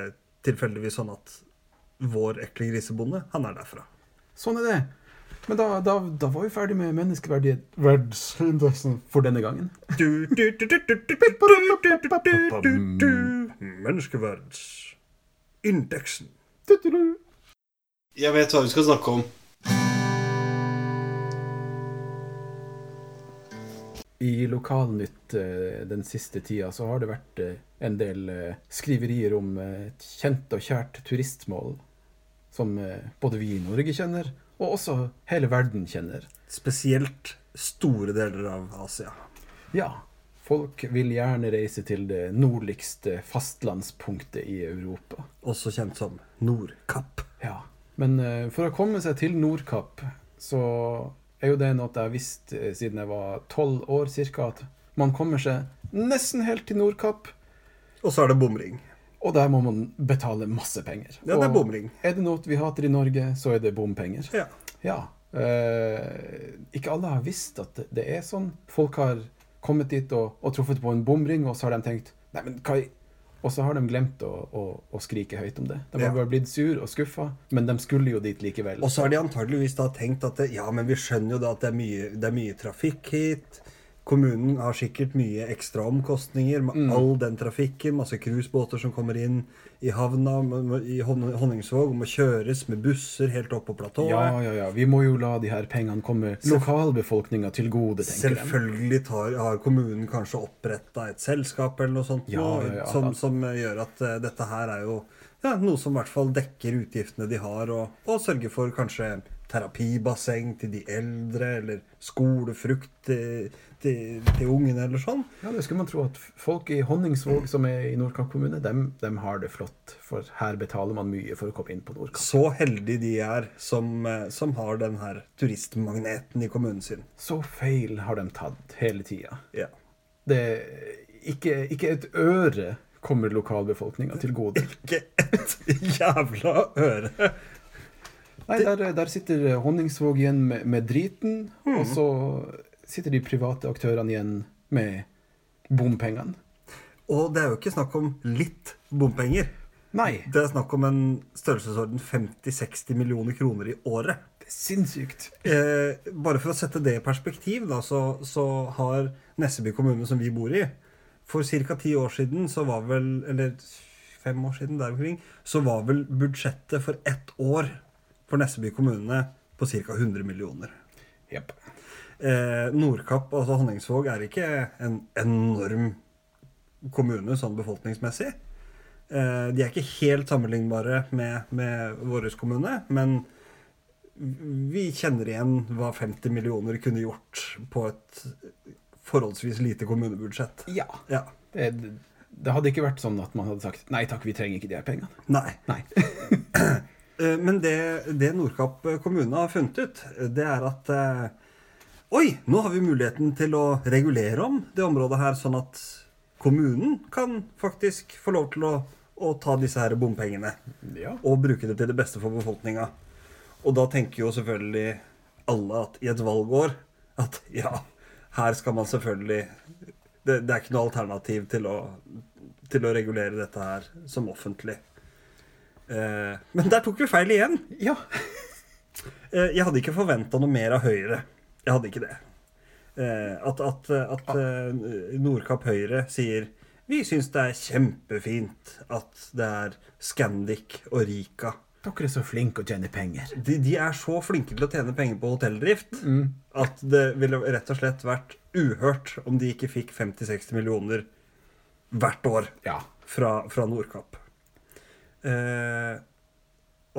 S1: tilfeldigvis sånn at vår ekle grisebonde, han er derfra.
S2: Sånn er det. Men da, da, da var vi ferdig med menneskeverdighetsverdsindeksen for denne gangen.
S1: Du, du, du, du, du, du, du, du, du. Menneskeverdsindeksen.
S3: Jeg vet hva vi skal snakke om.
S2: I Lokalnytt eh, den siste tida så har det vært eh, en del eh, skriverier om eh, et kjent og kjært turistmål som eh, både vi i Norge kjenner, og også hele verden kjenner.
S1: Spesielt store deler av Asia.
S2: Ja, folk vil gjerne reise til det nordligste fastlandspunktet i Europa.
S1: Også kjent som Nordkapp.
S2: Ja, men eh, for å komme seg til Nordkapp, så er jo det noe jeg har visst eh, siden jeg var tolv år cirka, at man kommer seg nesten helt til Nordkapp,
S1: Og så er det bomring.
S2: og der må man betale masse penger.
S1: Ja, det er
S2: Og
S1: bomring.
S2: Er det noe vi hater i Norge, så er det bompenger.
S1: Ja.
S2: Ja. eh, ikke alle har visst at det- det er sånn. Folk har kommet dit og, og truffet på en bomring, og så har de tenkt Nei, men hva i Og så har de glemt å, å, å skrike høyt om det. De har
S1: Ja.
S2: bare blitt sur og skuffa, men de skulle jo dit likevel.
S1: Og så har de antageligvis da tenkt at det, ja, men vi skjønner jo da at det er mye, det er mye trafikk hit. Kommunen har sikkert mye ekstra omkostninger med all den trafikken. Masse cruisebåter som kommer inn i havna med- med- i Hon- Honningsvåg og må kjøres med busser helt opp på platået.
S2: Ja, ja, ja. Vi må jo la de her pengene komme lokalbefolkninga til gode, tenker de.
S1: Selvfølgelig tar, har kommunen kanskje oppretta et selskap eller noe sånt
S2: Ja,
S1: nå,
S2: ja, ja.
S1: Som, som gjør at eh, dette her er jo ja, noe som i hvert fall dekker utgiftene de har, og, og sørger for kanskje terapibasseng til de eldre, eller skolefrukt til, til, til ungene, eller sånn.
S2: Ja, det skulle man tro at folk i Honningsvåg, som er i Nordkapp kommune, dem, dem har det flott. For her betaler man mye for å komme inn på Nordkapp.
S1: Så heldige de er som, eh, som har den her turistmagneten i kommunen sin.
S2: Så feil har de tatt hele tida.
S1: Ja.
S2: Det ikke, ikke et øre kommer lokalbefolkninga til gode.
S1: Ikke et *laughs* jævla øre!
S2: Nei, der, der sitter Honningsvåg igjen med, med driten,
S1: Mhm.
S2: og så sitter de private aktørene igjen med bompengene.
S1: Og det er jo ikke snakk om litt bompenger.
S2: Nei,
S1: Det er snakk om en størrelsesorden 50-60 millioner kroner i året.
S2: det er sinnssykt.
S1: Eh, bare for å sette det i perspektiv, da, så, så har Nesseby kommune, som vi bor i For ca. ti år siden, så var vel Eller fem år siden, der omkring, så var vel budsjettet for ett år for Nesseby kommune på ca. 100 millioner.
S2: Jepp.
S1: Eh, Nordkapp, altså Honningsvåg, er ikke en enorm kommune sånn befolkningsmessig. Eh, de er ikke helt sammenlignbare med, med vår kommune, men vi kjenner igjen hva 50 millioner kunne gjort på et forholdsvis lite kommunebudsjett.
S2: Ja.
S1: Ja.
S2: Det, det hadde ikke vært sånn at man hadde sagt nei takk, vi trenger ikke de her pengene.
S1: Nei.
S2: Nei. *laughs*
S1: Eh, Men det, det Nordkapp kommune har funnet ut, det er at eh, Oi, nå har vi muligheten til å regulere om det området her, sånn at kommunen kan faktisk få lov til å, å ta disse her bompengene
S2: Ja.
S1: og bruke det til det beste for befolkninga. Og da tenker jo selvfølgelig alle at i et valgår at ja, her skal man selvfølgelig Det, det er ikke noe alternativ til å, til å regulere dette her som offentlig. Eh, men der tok vi feil igjen.
S2: ja.
S1: Eh, jeg hadde ikke forventa noe mer av Høyre. Jeg hadde ikke det. Eh, at at, at eh, Nordkapp Høyre sier vi syns det er kjempefint at det er Scandic og Rika
S2: Dere er så flinke å tjene penger.
S1: de, de er så flinke til å tjene penger på hotelldrift at det ville rett og slett vært uhørt om de ikke fikk 50-60 millioner hvert år
S2: Ja.
S1: fra, fra Nordkapp. Eh,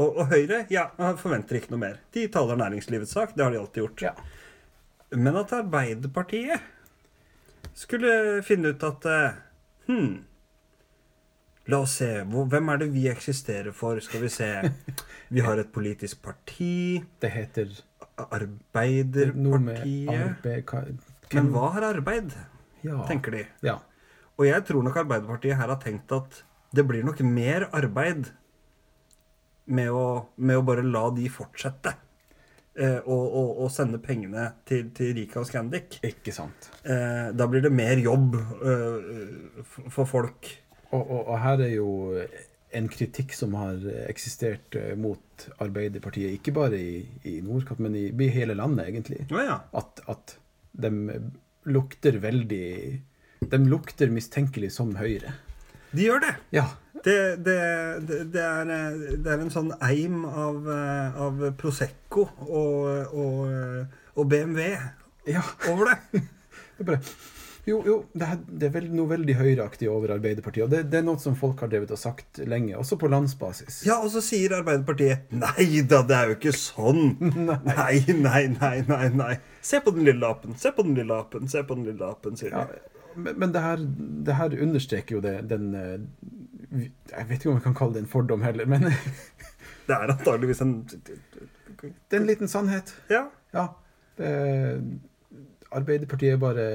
S1: og, og Høyre ja, jeg forventer ikke noe mer. De taler næringslivets sak. Det har de alltid gjort.
S2: ja.
S1: Men at Arbeiderpartiet skulle finne ut at eh, Hm. La oss se. Hvor, hvem er det vi eksisterer for? Skal vi se. Vi har et politisk parti.
S2: Det heter noe med
S1: Arbeiderpartiet.
S2: arbeid... hva-
S1: Men hva har arbeid?
S2: Ja.
S1: Tenker de.
S2: Ja.
S1: Og jeg tror nok Arbeiderpartiet her har tenkt at det blir nok mer arbeid med å, med å bare la de fortsette. eh, Og, og, og sende pengene til, til Rika og Scandic.
S2: Ikke sant.
S1: Eh, da blir det mer jobb eh, f- for folk.
S2: Og, og, og her er jo en kritikk som har eksistert eh, mot Arbeiderpartiet, ikke bare i, i Nordkapp, men i, i hele landet, egentlig.
S1: Å ja.
S2: At, at de lukter veldig De lukter mistenkelig som Høyre.
S1: De gjør det.
S2: Ja.
S1: Det, det, det, det, er, eh, det er en sånn eim av, eh, av Prosecco og, og, eh, og BMW
S2: ja.
S1: over det.
S2: Det er bare Jo, jo, det er, det er vel, noe veldig høyreaktig over Arbeiderpartiet. Og det, det er noe som folk har drevet og sagt lenge, også på landsbasis.
S1: Ja, og så sier Arbeiderpartiet Nei da, det er jo ikke sånn. *laughs* Nei, nei, nei, nei. nei. Se på den lille apen, se på den lille apen, se på den lille apen, sier de.
S2: Ja, men, men det, her, det her understreker jo det, den eh, vi- Jeg vet ikke om jeg kan kalle det en fordom heller, men det
S1: Det er antageligvis en
S2: er en liten sannhet.
S1: Ja.
S2: Ja. Det, Arbeiderpartiet er bare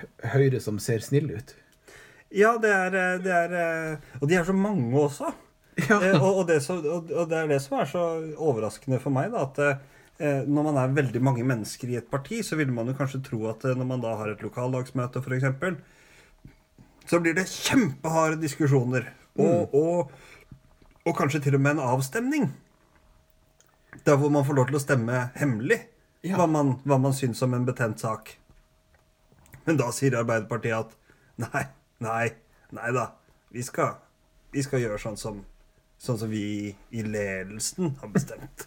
S2: hø- Høyre som ser snill ut. *laughs*
S1: Ja, det er, eh, det er eh, Og de er så mange også.
S2: Ja.
S1: Eh, og, og, det så, og, og det er det som er så overraskende for meg, da, at eh, når man er veldig mange mennesker i et parti, så ville man jo kanskje tro at eh, når man da har et lokallagsmøte, f.eks., så blir det kjempeharde diskusjoner.
S2: Mm.
S1: Og, og, og kanskje til og med en avstemning. Der hvor man får lov til å stemme hemmelig
S2: Ja.
S1: hva, man, hva man syns om en betent sak. Men da sier Arbeiderpartiet at nei, nei, nei da. Vi skal, vi skal gjøre sånn som, sånn som vi i ledelsen har bestemt.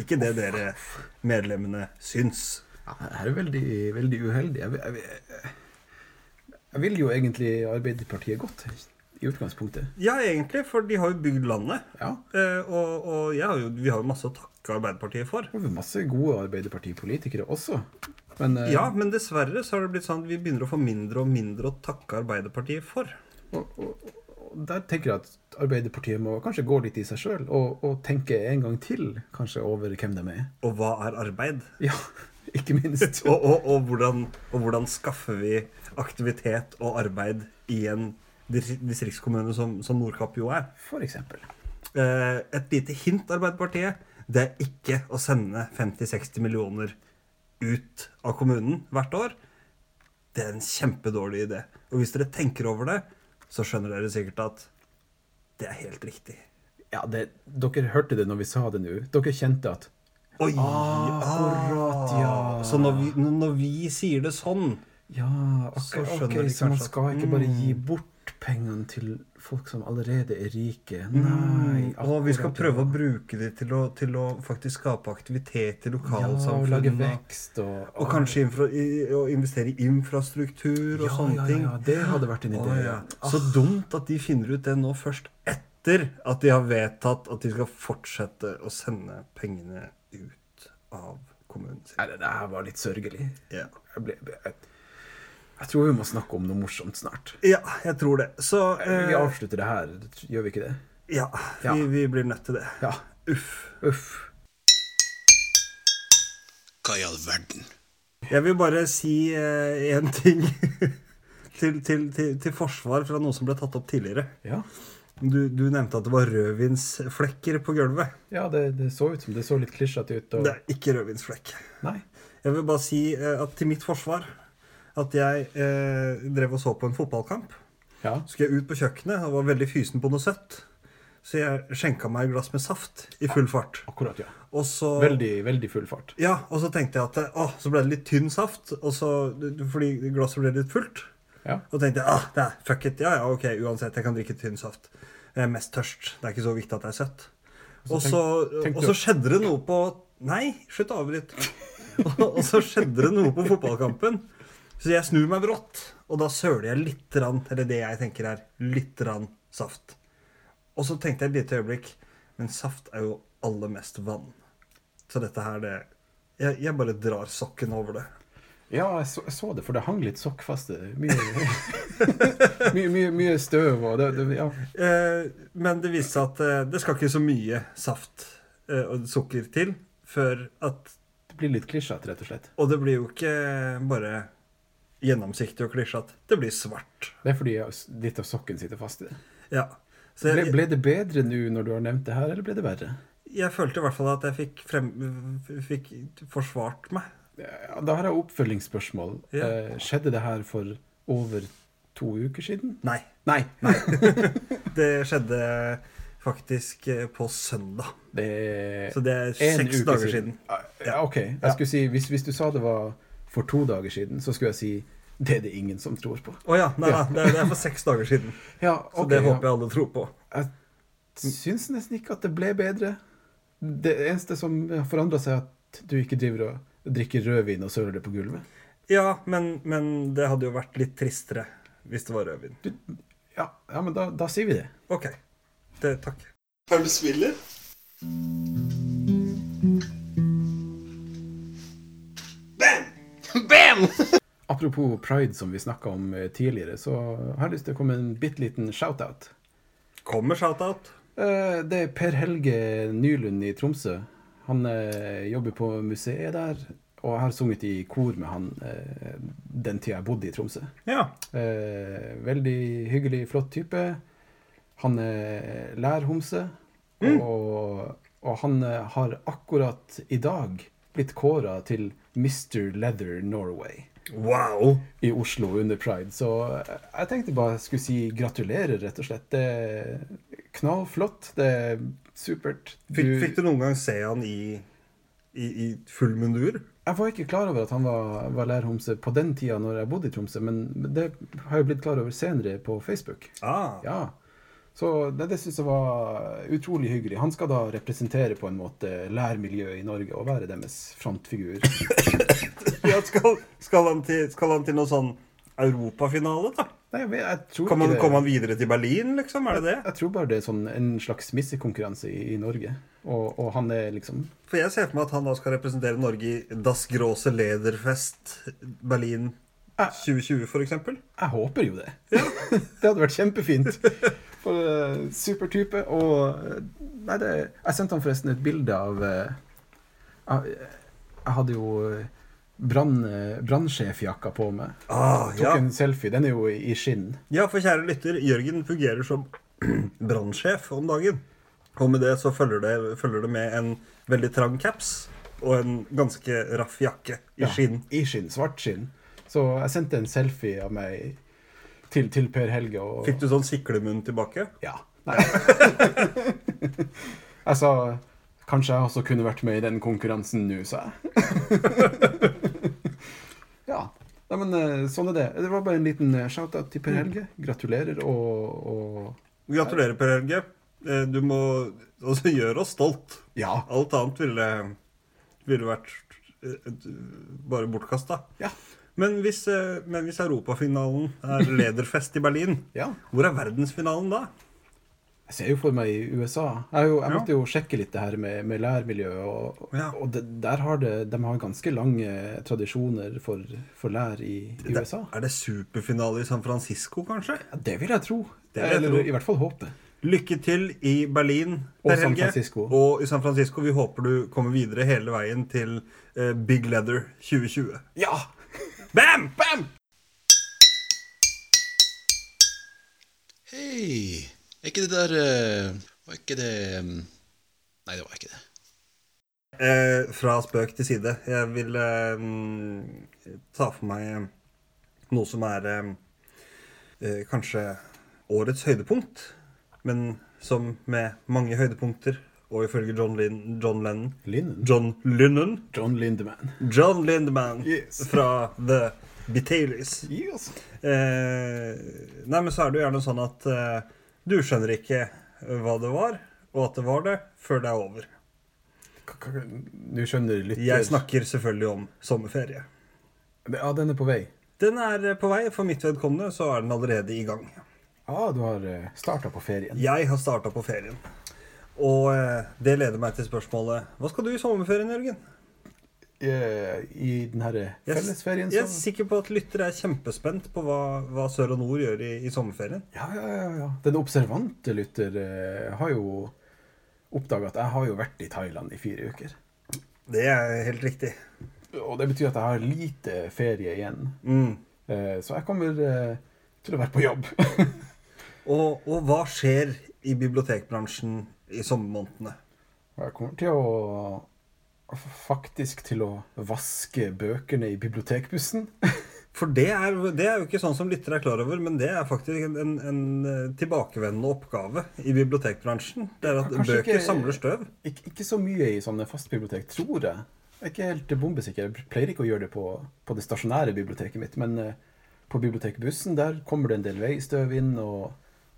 S1: Ikke det dere medlemmene syns.
S2: Ja, det her er veldig, veldig uheldig. Jeg, vil- jeg, vil- jeg vil jo egentlig Arbeiderpartiet godt, i utgangspunktet.
S1: Ja, egentlig, for de har jo bygd landet.
S2: Ja.
S1: Eh, og og jeg har jo, vi har jo masse å takke Arbeiderpartiet for.
S2: Det er masse gode Arbeiderpartipolitikere også. Men eh,
S1: Ja, men dessverre så har det blitt sånn at vi begynner å få mindre og mindre å takke Arbeiderpartiet for.
S2: og, og, og der tenker jeg at Arbeiderpartiet må kanskje gå litt i seg sjøl og, og tenke en gang til kanskje over hvem de er.
S1: Og hva er arbeid?
S2: Ja, *laughs* ikke minst.
S1: *laughs* Og, og, og, hvordan, og hvordan skaffer vi aktivitet og arbeid i en dis- distriktskommune som, som Nordkapp jo er?
S2: For eksempel.
S1: Eh, et lite hint, Arbeiderpartiet, det er ikke å sende 50-60 millioner ut av kommunen hvert år. Det er en kjempedårlig idé. Og hvis dere tenker over det, så skjønner dere sikkert at det er helt riktig.
S2: Ja, det, dere hørte det når vi sa det nå. Dere kjente at
S1: Oi! akkurat,
S2: ja.
S1: Så når vi, når vi sier det sånn
S2: Ja, akkurat, sånn
S1: skjønner
S2: ok,
S1: de
S2: så man
S1: kanskje at-
S2: skal ikke bare gi bort pengene til folk som allerede er rike. Nei.
S1: Og vi skal
S2: akkurat,
S1: prøve å bruke det til å, til å faktisk skape aktivitet i
S2: ja, og lage
S1: lokalsamfunnet.
S2: vekst og,
S1: og kanskje infra, i, å investere i infrastruktur og
S2: ja,
S1: sånne
S2: ja,
S1: ting.
S2: ja, ja, det hadde vært en idé. Ah.
S1: Å, ja. Så dumt at de finner ut det nå først etter at de har vedtatt at de skal fortsette å sende pengene ut av kommunen sin.
S2: Nei, det det her var litt sørgelig.
S1: Ja.
S2: Jeg, ble, jeg, jeg tror vi må snakke om noe morsomt snart.
S1: ja, jeg tror det. Så
S2: Vi
S1: eh,
S2: avslutter det her, gjør vi ikke det?
S1: ja,
S2: Ja.
S1: vi, vi blir nødt til det.
S2: Ja.
S1: Uff.
S2: Uff.
S3: Hva i all verden?
S1: Jeg vil bare si én ting *laughs* til, til, til, til forsvar fra noe som ble tatt opp tidligere.
S2: Ja,
S1: Du, du nevnte at det var rødvinsflekker på gulvet.
S2: ja det, det så ut som det så litt klisjete ut. Og...
S1: Det er ikke rødvinsflekk.
S2: Nei.
S1: Jeg vil bare si eh, at til mitt forsvar at jeg eh, drev og så på en fotballkamp.
S2: Ja.
S1: Så skulle jeg ut på kjøkkenet og var veldig fysen på noe søtt. Så jeg skjenka meg et glass med saft i full fart.
S2: Akkurat, ja.
S1: Og så
S2: Veldig, veldig full fart.
S1: Ja, og så tenkte jeg at Å, så ble det litt tynn saft, og så, fordi glasset ble litt fullt.
S2: Ja.
S1: Og tenkte jeg, ah, det er, fuck it, ja, ja, ok, uansett, jeg kan drikke tynn saft. Jeg er mest tørst, det er ikke så viktig at det er søtt. Og så,
S2: tenk
S1: og
S2: du-
S1: så skjedde det noe på, nei, slutt å avbryte. *laughs* Og, og så skjedde det noe på fotballkampen, så jeg snur meg brått, og da søler jeg litt, rann, eller det jeg tenker er litt rann saft. Og så tenkte jeg et lite øyeblikk, men saft er jo aller mest vann. Så dette her, det, jeg, jeg bare drar sokken over det.
S2: Ja, jeg så, jeg så det, for det hang litt sokkfaste. Mye,
S1: *laughs*
S2: mye, mye, mye støv og det, det, ja.
S1: Eh, men det viste seg at eh, det skal ikke så mye saft eh, og sukker til før at
S2: det blir litt klisjete, rett og slett.
S1: Og det blir jo ikke bare gjennomsiktig og klisjete. Det blir svart.
S2: Det er fordi jeg- litt av sokken sitter fast i det.
S1: Ja. Så
S2: Ble,
S1: jeg,
S2: ble det bedre nå når du har nevnt det her, eller ble det verre?
S1: jeg følte i hvert fall at jeg fikk, frem, fikk forsvart meg.
S2: Ja, Da har jeg oppfølgingsspørsmål.
S1: Ja.
S2: Eh, Skjedde det her for over to uker siden?
S1: Nei.
S2: Nei.
S1: Det skjedde faktisk eh, på søndag.
S2: Det er
S1: *laughs* Så det er
S2: en
S1: seks
S2: uke Ah,
S1: dager siden.
S2: Ja, OK. Jeg skulle si, hvis, hvis du sa det var for to dager siden, så skulle jeg si det er det ingen som tror på.
S1: Å ja. Nei da. Det, er- det er for seks dager siden.
S2: Ja,
S1: Så det håper jeg alle tror på.
S2: Jeg syns nesten ikke at det ble bedre. Det eneste som har forandra seg, er at du ikke driver og drikker rødvin og søler det på gulvet.
S1: Ja, men, men det hadde jo vært litt tristere hvis det var rødvin.
S2: Du, ja, ja, men da, da sier vi det.
S1: Ok. Det, takk.
S3: Er du spiller? Bam! *laughs* Bam!
S2: Apropos pride, som vi snakka om eh, tidligere, så har jeg lyst til å komme med en bitte liten shout-out.
S1: Kommer shout-out.
S2: Eh, Det er Per Helge Nylund i Tromsø. Han eh, jobber på museet der, og jeg har sunget i kor med han eh, den tida jeg bodde i Tromsø.
S1: Ja.
S2: Eh, veldig hyggelig, flott type. Han er lærhomse. Og, og han eh, har akkurat i dag blitt kåra til Mr. Leather Norway
S1: Wow.
S2: i Oslo under pride. Så eh, jeg tenkte bare jeg skulle si gratulerer, rett og slett. Det er knallflott. Det er supert.
S1: Fikk, fikk du noen gang se han i i, i full mundur.
S2: Jeg var ikke klar over at han var, var lærhomse på den tida når jeg bodde i Tromsø, men det har jeg jo blitt klar over senere på Facebook.
S1: Ah,
S2: Ja. Så det, det syns jeg var utrolig hyggelig. Han skal da representere på en måte lærmiljøet i Norge og være deres frontfigur.
S1: *laughs* *laughs* ja, skal, skal, han til, skal han til noe sånn europafinale, da?
S2: Nei, jeg, vet- jeg tror
S1: Kan man,
S2: ikke det.
S1: kom han videre til Berlin, liksom? Er det det?
S2: Jeg tror bare det er sånn en slags missekonkurranse i, i Norge. Og, og han er liksom
S1: For jeg ser for meg at han da skal representere Norge i Das Große Lederfest Berlin Ah. 2020, f.eks.
S2: Jeg håper jo det. *laughs* det hadde vært kjempefint. For eh, supertype. Og eh, Nei, det Jeg sendte han forresten et bilde av eh, jeg, jeg hadde jo eh, brann- eh, brannsjefjakka på meg.
S1: Ah,
S2: Tok
S1: ja.
S2: en selfie. Den er jo i skinn.
S1: ja, for kjære lytter, Jørgen fungerer som *clears throat* brannsjef om dagen. Og med det så følger det, følger det med en veldig trang caps og en ganske raff jakke i
S2: Ja,
S1: skinn.
S2: I skinn. Svart skinn. Så jeg sendte en selfie av meg til, til Per Helge. Og,
S1: Fikk du sånn siklemunn tilbake?
S2: Ja. Nei. *laughs* jeg sa kanskje jeg også kunne vært med i den konkurransen nå, sa jeg. *laughs* ja. Nei, men eh, sånn er det. Det var bare en liten eh, shout-out
S1: Mm.
S2: til Per Helge. Gratulerer og, og
S1: Gratulerer, Per Helge. Eh, Du må altså gjøre oss stolt.
S2: ja.
S1: Alt annet ville, ville vært eh, et- bare bortkasta.
S2: Ja.
S1: Men hvis, eh, men hvis europafinalen er lederfest i Berlin,
S2: ja.
S1: hvor er verdensfinalen da?
S2: Jeg ser jo for meg i USA. Jeg, er jo, jeg måtte jo sjekke litt det her med, med lærmiljøet. Og,
S1: Ja.
S2: og det, der har det, de har ganske lange tradisjoner for, for lær i, i USA.
S1: Er det superfinale i San Francisco, kanskje?
S2: Ja, det vil jeg tro.
S1: Det vil jeg
S2: Eller
S1: tro.
S2: i hvert fall håpe.
S1: Lykke til i Berlin,
S2: Og
S1: Per
S2: San
S1: Helge.
S2: Francisco.
S1: Og i San Francisco. Vi håper du kommer videre hele veien til eh, Big Leather 2020.
S2: Ja!
S1: Bam!
S2: Bam!
S3: Hei! Er ikke det der eh, Var ikke det eh, Nei, det var ikke det.
S1: Eh, fra spøk til side. Jeg vil eh, mm, ta for meg noe som er eh, eh, kanskje årets høydepunkt, men som med mange høydepunkter, og ifølge John, Lin John Lennon
S2: Linden.
S1: John Lennon?
S2: John Lindemann.
S1: John Lindemann
S2: Yes.
S1: *laughs* fra The Betailies.
S2: Yes.
S1: Eh, nei, men så er det jo gjerne sånn at eh, du skjønner ikke hva det var, og at det var det, før det er over.
S2: Nå skjønner lytter
S1: Jeg snakker selvfølgelig om sommerferie.
S2: Ja, den er på vei.
S1: Den er eh, på vei. For mitt vedkommende så er den allerede i gang.
S2: Ja, Ah, du har starta på ferien.
S1: Jeg har starta på ferien. Og eh, det leder meg til spørsmålet Hva skal du i sommerferien, Jørgen?
S2: Eh, I den her
S1: Jeg,
S2: fellesferien,
S1: jeg er
S2: så
S1: sikker på at lyttere er kjempespent på hva, hva sør og nord gjør i, i sommerferien.
S2: Ja, ja, ja. ja. Den observante lytter eh, har jo oppdaga at jeg har jo vært i Thailand i fire uker.
S1: Det er helt riktig.
S2: Og det betyr at jeg har lite ferie igjen.
S1: Mm.
S2: Eh, så jeg kommer eh, til å være på jobb. *laughs*
S1: Og, og hva skjer i bibliotekbransjen i sommermånedene?
S2: Og jeg kommer til å faktisk til å vaske bøkene i bibliotekbussen. *laughs*
S1: For det er, det er jo ikke sånn som lyttere er klar over, men det er faktisk en, en, en eh, tilbakevendende oppgave i bibliotekbransjen. Det er at
S2: Kanskje
S1: bøker
S2: ikke-
S1: samler støv.
S2: Ik ikke så mye i sånne fastbibliotek, tror jeg. Jeg er ikke helt bombesikker. Jeg pleier ikke å gjøre det på, på det stasjonære biblioteket mitt, men eh, på bibliotekbussen der kommer det en del veistøv inn, og,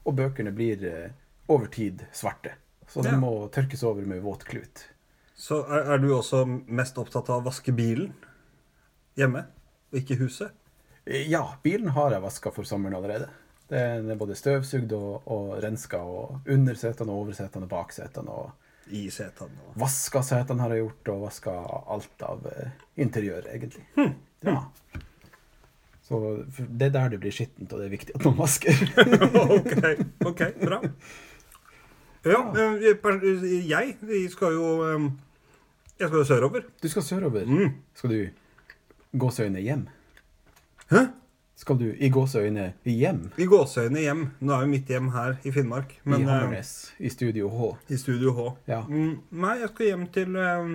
S2: og bøkene blir eh, over tid svarte. Så de
S1: Ja.
S2: må tørkes over med våt klut.
S1: Så er, er du også mest opptatt av å vaske bilen hjemme, og ikke huset?
S2: Eh, Ja, bilen har jeg vaska for sommeren allerede. Den er både støvsugd og, og renska, og undersetene og oversetene og baksetene. Og
S1: I setene og
S2: vaska setene har jeg gjort, og vaska alt av eh, interiør, egentlig.
S1: Hmm.
S2: Ja. Så for det er der det blir skittent, og det er viktig at man vasker.
S1: *laughs*
S2: *laughs*
S1: ok, ok, bra. Ja, eh, pers- jeg vi skal jo eh, Jeg skal jo sørover.
S2: Du skal sørover.
S1: Hmm.
S2: Skal du gåseøyne hjem?
S1: Hæ?
S2: Skal du i gåseøyne hjem?
S1: I gåseøyne hjem. Nå er jo mitt hjem her i Finnmark. Men
S2: I
S1: eh,
S2: Hammernes, i Studio H.
S1: I Studio H.
S2: Ja.
S1: Mm, nei, jeg skal hjem til eh,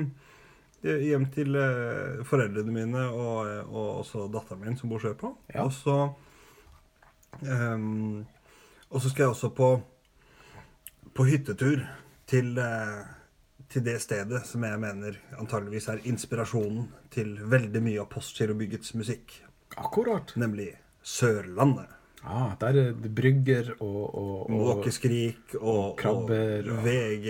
S1: Hjem til eh, foreldrene mine og, eh, og også datteren min som bor sørpå.
S2: Ja.
S1: Og så ehm, Og så skal jeg også på På hyttetur til eh, til det stedet som jeg mener antageligvis er inspirasjonen til veldig mye av Postgirobyggets musikk,
S2: Akkurat.
S1: nemlig Sørlandet.
S2: Ah, der er det brygger og, og, og
S1: Måkeskrik og,
S2: krabber, og-
S1: og VG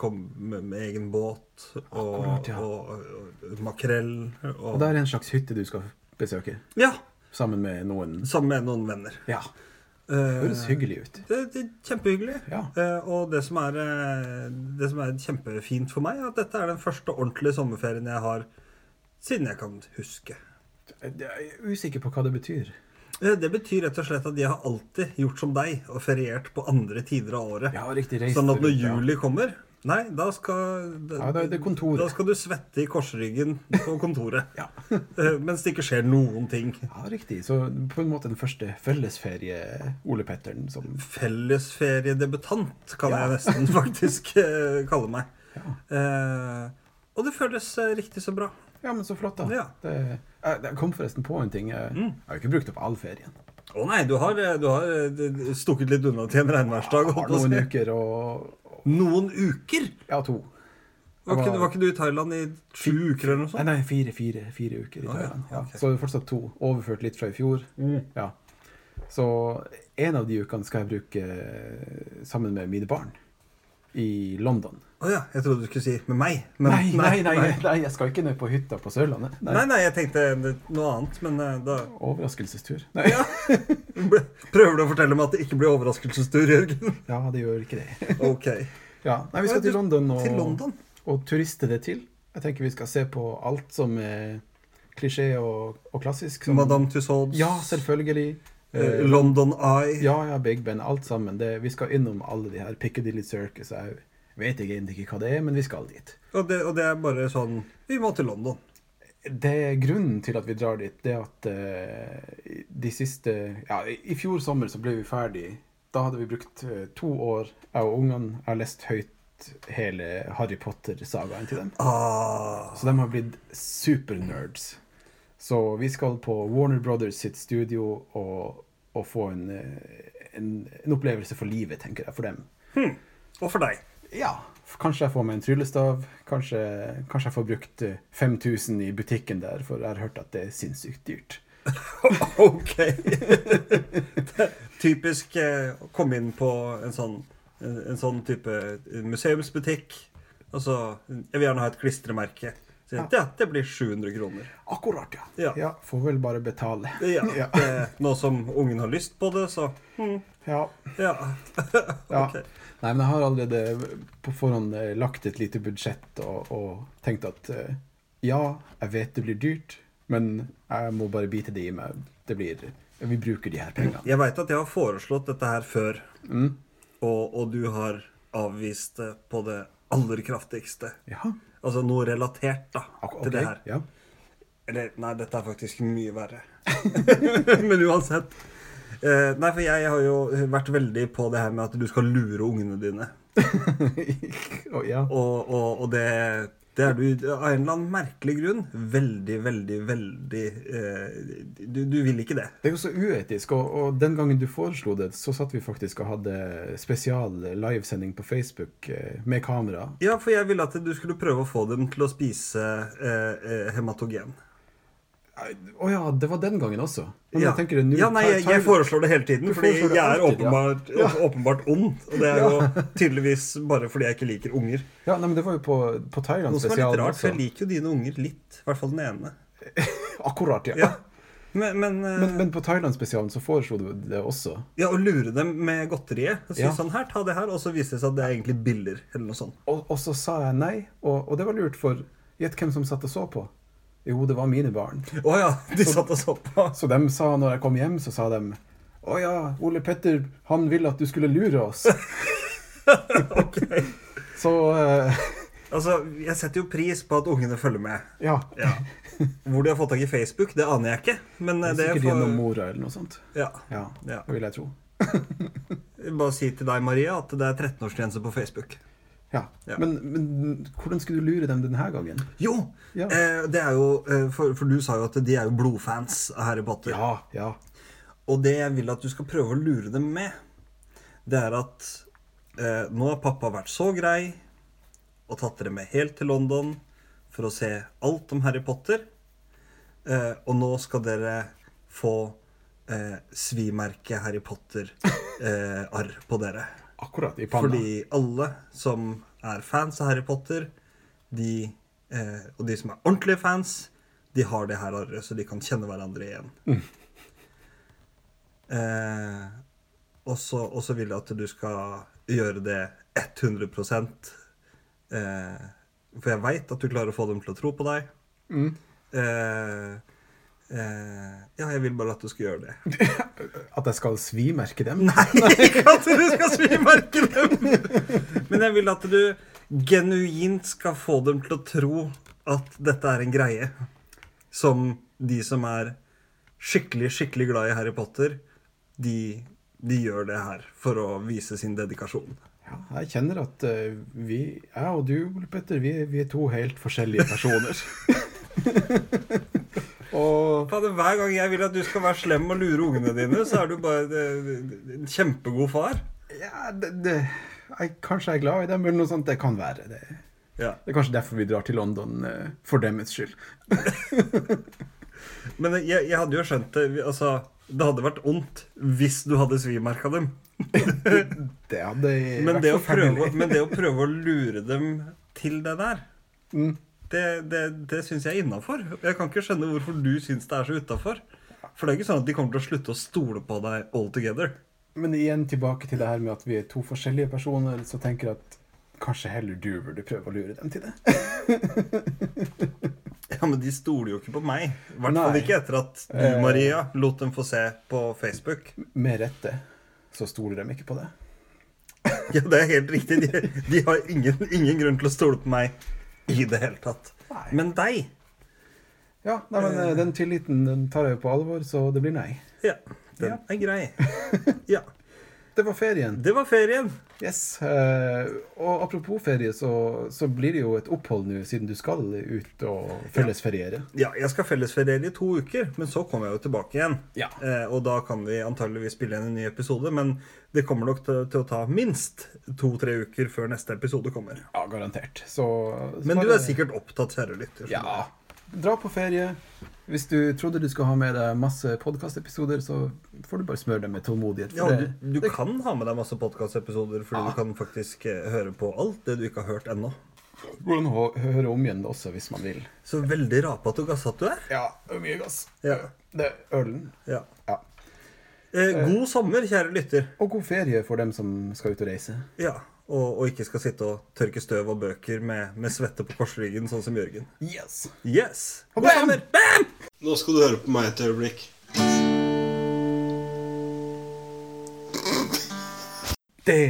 S1: kom med, med egen båt, og,
S2: Akkurat, ja.
S1: og, og, og makrell og,
S2: Og der er en slags hytte du skal besøke
S1: Ja!
S2: sammen med noen.
S1: Sammen med noen venner.
S2: Ja,
S1: Eh,
S2: høres hyggelig ut.
S1: det, det er kjempehyggelig.
S2: Ja.
S1: Eh, og det som, er, eh, det som er kjempefint for meg, er at dette er den første ordentlige sommerferien jeg har siden jeg kan huske.
S2: Jeg er usikker på hva det betyr.
S1: Eh, Det betyr rett og slett at jeg har alltid gjort som deg og feriert på andre tider av året.
S2: Ja, riktig reist
S1: sånn at når
S2: rundt, ja.
S1: juli kommer Nei, da skal,
S2: Ja, da er det kontoret.
S1: da skal du svette i korsryggen på kontoret.
S2: Ja.
S1: *laughs* Eh, Mens det ikke skjer noen ting.
S2: Ja, riktig. Så på en måte den første fellesferie Ole Petteren som
S1: Fellesferiedebutant kan
S2: Ja.
S1: jeg
S2: *laughs*
S1: nesten faktisk eh, kalle meg. Eh, og det føles eh, riktig så bra.
S2: Ja, men så flott, da.
S1: Ja.
S2: Det, jeg, jeg kom forresten på en ting. Jeg, jeg har jo ikke brukt opp all ferien.
S1: Å nei, du har, eh, du har eh, d- stukket litt unna til en regnværsdag.
S2: Jeg har
S1: holdt på å
S2: noen
S1: si.
S2: uker og
S1: Noen uker?
S2: Ja, to.
S1: Var
S2: Jeg
S1: ikke,
S2: var-
S1: var ikke du i Thailand i sju uker eller noe
S2: Nei,
S1: sånt?
S2: nei fire, fire, fire uker i
S1: ja,
S2: Thailand. Ja,
S1: ok.
S2: Så det er fortsatt to. Overført litt fra i fjor. Ja. Så en av de ukene skal jeg bruke sammen med mine barn i London.
S1: Å ja, jeg trodde du skulle si med meg. men-
S2: Nei, nei, nei, nei, jeg skal ikke ned på hytta på Sørlandet. Nei.
S1: Nei, nei, jeg tenkte noe annet, men eh, da
S2: Overraskelsestur. Nei. Ja.
S1: ble- *laughs* Prøver du å fortelle meg at det ikke blir overraskelsestur, Jørgen?
S2: det gjør ikke det.
S1: Ok.
S2: Ja, nei, Vi skal til London og,
S1: Til London?
S2: og turiste det til. Jeg tenker vi skal se på alt som er klisjé og, og klassisk. Som,
S1: Madame Tussauds?
S2: Ja, selvfølgelig.
S1: eh, London Eye?
S2: Ja, ja, Big Ben, alt sammen. Det, vi skal innom alle de her Piccadilly Circus. Jeg vet ikke egentlig ikke hva det er, men vi skal dit.
S1: Og, det, og det er bare sånn Vi må til London.
S2: Det Grunnen til at vi drar dit, det er at eh, de siste Ja, i i fjor sommer så ble vi ferdig. Da hadde vi brukt eh, to år, jeg og ungene. Jeg har lest høyt hele Harry Potter-sagaen til dem.
S1: Ah,
S2: Så de har blitt supernerds. Så vi skal på Warner Brothers sitt studio og, og få en, eh, en, en opplevelse for livet, tenker jeg, for dem.
S1: og for deg.
S2: Ja, f- kanskje jeg får meg en tryllestav. Kanskje, kanskje jeg får brukt eh, 5000 i butikken der, for jeg har hørt at det er sinnssykt dyrt.
S1: *laughs* ok. Det er Typisk eh, å komme inn på en sånn, en, en sånn type museumsbutikk. Og så Jeg vil gjerne ha et klistremerke. Så, ja, det blir 700 kroner.
S2: Akkurat, ja.
S1: Ja.
S2: Får vel bare betale.
S1: Ja,
S2: *laughs* ja.
S1: eh, Nå som ungen har lyst på det, så
S2: ja.
S1: ja.
S2: ja.
S1: Ok.
S2: Nei, men jeg har allerede på forhånd eh, lagt et lite budsjett og, og tenkt at eh, ja, jeg vet det blir dyrt, men jeg må bare bite det i meg. Det blir, vi bruker de her pengene.
S1: *laughs* Jeg veit at jeg har foreslått dette her før,
S2: Mm.
S1: og, og du har avvist det på det aller kraftigste.
S2: Ja,
S1: Altså noe relatert da
S2: ak- ok.
S1: til det her.
S2: Ja. *laughs*
S1: Eller nei, dette er faktisk mye verre. Men uansett. Eh, nei, for jeg har jo vært veldig på det her med at du skal lure ungene dine.
S2: Å, ja.
S1: Og, og, og det, det er du av en eller annen merkelig grunn veldig, veldig, veldig eh, du, du vil ikke det.
S2: Det er jo så uetisk, og, og den gangen du foreslo det, så satt vi faktisk og hadde spesial livesending på Facebook eh, med kamera.
S1: Ja, for jeg ville at du skulle prøve å få dem til å spise eh, eh, hematogen.
S2: Nei, Å ja, det var den gangen også. Men
S1: Ja.
S2: jeg tenker det nå
S1: ja, nei, jeg, jeg foreslår det hele tiden,
S2: Du
S1: fordi
S2: foreslår det
S1: jeg er
S2: alltid, ja.
S1: åpenbart, *laughs* åpenbart ond. Og det er jo *laughs* tydeligvis bare fordi jeg ikke liker unger.
S2: Ja, nei, men det var jo på, på Thailand
S1: Noe som er litt
S2: spesial
S1: rart, for
S2: også.
S1: jeg liker jo dine unger litt. I hvert fall den ene.
S2: Akkurat, ja.
S1: Ja. Men, men, eh,
S2: Men, men på Thailand-spesialen så foreslo du det også.
S1: ja, å lure dem med godteriet. Og si
S2: Ja.
S1: sånn her, ta det her. Og så viser det seg at det er egentlig biller, eller noe sånt.
S2: Og, og så sa jeg nei, og, og det var lurt, for gjett hvem som satt og så på? Jo, det var mine barn.
S1: Å ja, de satt og så på.
S2: Så de sa, når jeg kom hjem, så sa de Å ja, Ole Petter, han ville at du skulle lure oss.
S1: *laughs* Ok.
S2: *laughs* Så eh,
S1: Altså, jeg setter jo pris på at ungene følger med.
S2: ja.
S1: Ja. *laughs* Hvor de har fått tak i Facebook, det aner jeg ikke. Men eh, det
S2: Sikkert
S1: får
S2: gjennom mora eller noe sånt.
S1: ja.
S2: Ja,
S1: Ja.
S2: det vil jeg tro.
S1: Bare si til deg, Maria, at det er 13-årsgrense på Facebook.
S2: Ja.
S1: Ja.
S2: Men, men hvordan skulle du lure dem denne gangen?
S1: Jo!
S2: Ja.
S1: Eh, det er jo, eh, for, for du sa jo at de er jo blodfans av Harry Potter.
S2: Ja, ja.
S1: Og det jeg vil at du skal prøve å lure dem med, det er at eh, nå har pappa vært så grei, og tatt dere med helt til London for å se alt om Harry Potter. Eh, og nå skal dere få eh, svimerket Harry Potter-arr på dere.
S2: Akkurat i panna.
S1: Fordi alle som er fans av Harry Potter, de, eh, og de som er ordentlige fans, de har det her arret, så de kan kjenne hverandre igjen.
S2: Mm.
S1: Eh, og så og så vil jeg at du skal gjøre det 100 eh, For jeg veit at du klarer å få dem til å tro på deg.
S2: Mm.
S1: Eh, eh, ja, jeg vil bare at du skal gjøre det.
S2: At jeg skal svimerke dem?
S1: Nei, ikke at du skal svimerke dem! Men jeg vil at du genuint skal få dem til å tro at dette er en greie. Som de som er skikkelig, skikkelig glad i Harry Potter, de, de gjør det her for å vise sin dedikasjon.
S2: Ja, jeg kjenner at eh, vi, jeg og du, Ole Petter, vi, vi er to helt forskjellige
S1: *laughs*
S2: personer. og
S1: Fader, Hver gang jeg vil at du skal være slem og lure ungene dine, så er du bare eh, en kjempegod far.
S2: ja, det, det, jeg, kanskje jeg er glad i dem, eller noe sånt. Det kan være. Det,
S1: Ja.
S2: det er kanskje derfor vi drar til London, eh, for deres skyld.
S1: Men jeg, jeg hadde jo skjønt det vi- altså, Det hadde vært ondt hvis du hadde svimerka dem.
S2: Det hadde i
S1: Men
S2: hvert
S1: det, å
S2: fall
S1: prøve,
S2: family.
S1: men det å prøve å lure dem til det der, Mm. det, det, det syns jeg er innafor. Jeg kan ikke skjønne hvorfor du syns det er så utafor. For det er ikke sånn at de kommer til å slutte å stole på deg all together.
S2: Men igjen tilbake til det her med at vi er to forskjellige personer, så tenker jeg at kanskje heller du burde prøve å lure dem til det.
S1: Ja, Men de stoler jo ikke på meg. I hvert
S2: Nei.
S1: fall ikke etter at du,
S2: Eh.
S1: Maria, lot dem få se på Facebook.
S2: Med rette så stoler de ikke på det.
S1: Ja, det er helt riktig. De, de har ingen, ingen grunn til å stole på meg i det hele tatt.
S2: Nei.
S1: Men deg
S2: Ja, nei, men eh, den tilliten den tar jeg jo på alvor, så det blir nei.
S1: Ja, den
S2: Ja.
S1: er grei. Ja.
S2: Det var ferien.
S1: Det var ferien.
S2: Yes. eh, og apropos ferie, så, så blir det jo et opphold nå, siden du skal ut og fellesferiere.
S1: Ja, jeg skal fellesferiere i to uker, men så kommer jeg jo tilbake igjen.
S2: Ja.
S1: Eh, og da kan vi antageligvis spille inn en ny episode, men det kommer nok til, til å ta minst to-tre uker før neste episode kommer.
S2: Ja, garantert. Så, så
S1: Men du
S2: bare-
S1: er sikkert opptatt, kjære lytter.
S2: Ja. Dra på ferie. Hvis du trodde du skulle ha med deg masse podkastepisoder, så får du bare smøre deg med tålmodighet.
S1: Ja,
S2: For
S1: og
S2: det,
S1: du, du kan ha med deg masse podkastepisoder, fordi du kan faktisk eh, høre på alt det du ikke har hørt ennå.
S2: det går an å hø- høre om igjen også, hvis man vil.
S1: Så veldig rapete og gassete du er.
S2: Ja, det er mye gass.
S1: Ja.
S2: Det er ølen.
S1: ja.
S2: Ja.
S1: Eh, god sommer, kjære lytter.
S2: Og god ferie for dem som skal ut og reise.
S1: Ja, og, og ikke skal sitte og tørke støv og bøker med, med svette på korsryggen, sånn som Jørgen.
S2: Yes.
S1: Yes!
S2: Og
S1: God
S2: bam!
S1: sommer! Bam!
S3: Nå skal du høre på meg et øyeblikk.
S2: Det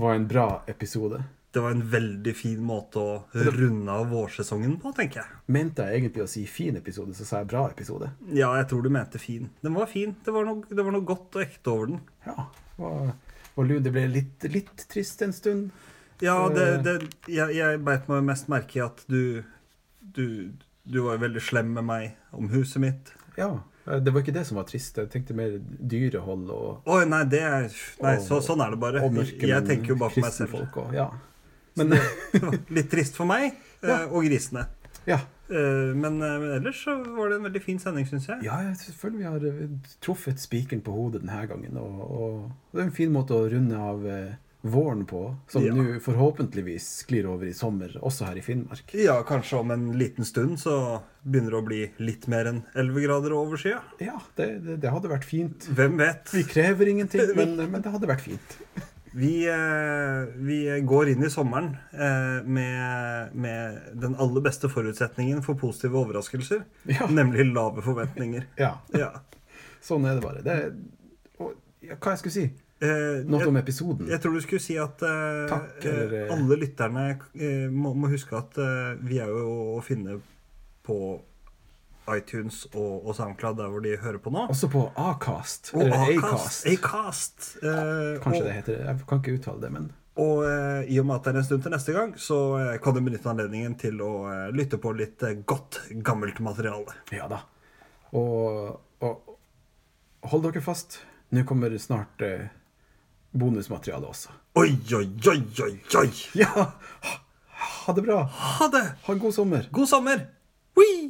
S2: var en bra episode.
S1: Det var en veldig fin måte å runde av vårsesongen på, tenker jeg.
S2: Mente jeg egentlig å si fin episode, så sa jeg bra episode.
S1: Ja, jeg tror du mente fin. Den var fin. Det var noe, det var noe godt og ekte over den.
S2: Ja. Var, var lun. Det ble litt, litt trist en stund.
S1: Ja, det, det, jeg, jeg beit meg mest merke i at du, du Du var jo veldig slem med meg om huset mitt.
S2: Ja. eh, Det var ikke det som var trist. Jeg tenkte mer dyrehold og,
S1: Å nei, det er Nei, så,
S2: Og-
S1: sånn er det bare.
S2: og mørke
S1: Jeg
S2: menn,
S1: tenker jo bare på meg
S2: kristne
S1: selv.
S2: folk Og, ja. Men
S1: Det var *laughs* litt trist for meg eh,
S2: Ja.
S1: og grisene.
S2: *laughs* ja.
S1: Eh, Men eh, men ellers så var det en veldig fin sending, syns jeg.
S2: ja, jeg føler vi har eh, truffet spikeren på hodet denne gangen. Og, og det er en fin måte å runde av eh, våren på, som
S1: Ja.
S2: nå forhåpentligvis sklir over i sommer, også her i Finnmark.
S1: Ja, kanskje om en liten stund så begynner det å bli litt mer enn 11 grader over skya.
S2: Ja, det, det, det hadde vært fint.
S1: Hvem vet?
S2: Vi krever
S1: *laughs*
S2: ingenting, men, men det hadde vært fint.
S1: Vi, eh, vi går inn i sommeren eh, med, med den aller beste forutsetningen for positive overraskelser,
S2: Ja.
S1: nemlig lave forventninger.
S2: Ja,
S1: Ja.
S2: Sånn er det bare. Det, er- og, ja, hva jeg skulle si?
S1: Eh,
S2: Noe
S1: jeg,
S2: om episoden?
S1: jeg tror du skulle si at eh,
S2: Takk, eller,
S1: eh,
S2: eh,
S1: alle lytterne eh, må, må huske at eh, vi er jo å finne på iTunes og, og SoundCloud, der hvor de hører på nå.
S2: Også på Acast.
S1: Og
S2: Eller
S1: Acast.
S2: Acast.
S1: Acast. Eh,
S2: Kanskje
S1: og,
S2: det heter det. Jeg kan ikke uttale det, men
S1: Og eh, i og med at det er en stund til neste gang, så eh, kan du benytte anledningen til å eh, lytte på litt eh, godt, gammelt materiale.
S2: ja da. Og, og hold dere fast. Nå kommer snart eh, bonusmateriale også.
S1: Oi, oi, oi, oi, oi!
S2: Ja! Ha det bra.
S1: Ha det!
S2: Ha en god sommer.
S1: God sommer! Whee!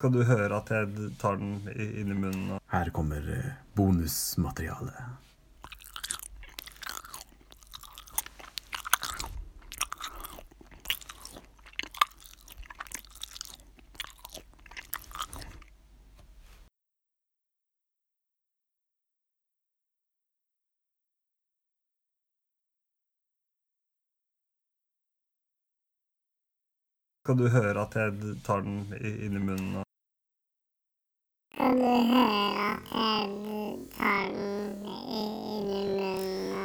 S1: Kan du høre at jeg tar den i- inn i munnen? og-
S2: Her kommer eh, bonusmaterialet.
S1: Kan du høre at jeg tar den i- inn i munnen? og-
S4: Kan du høre at jeg tar den i munnen?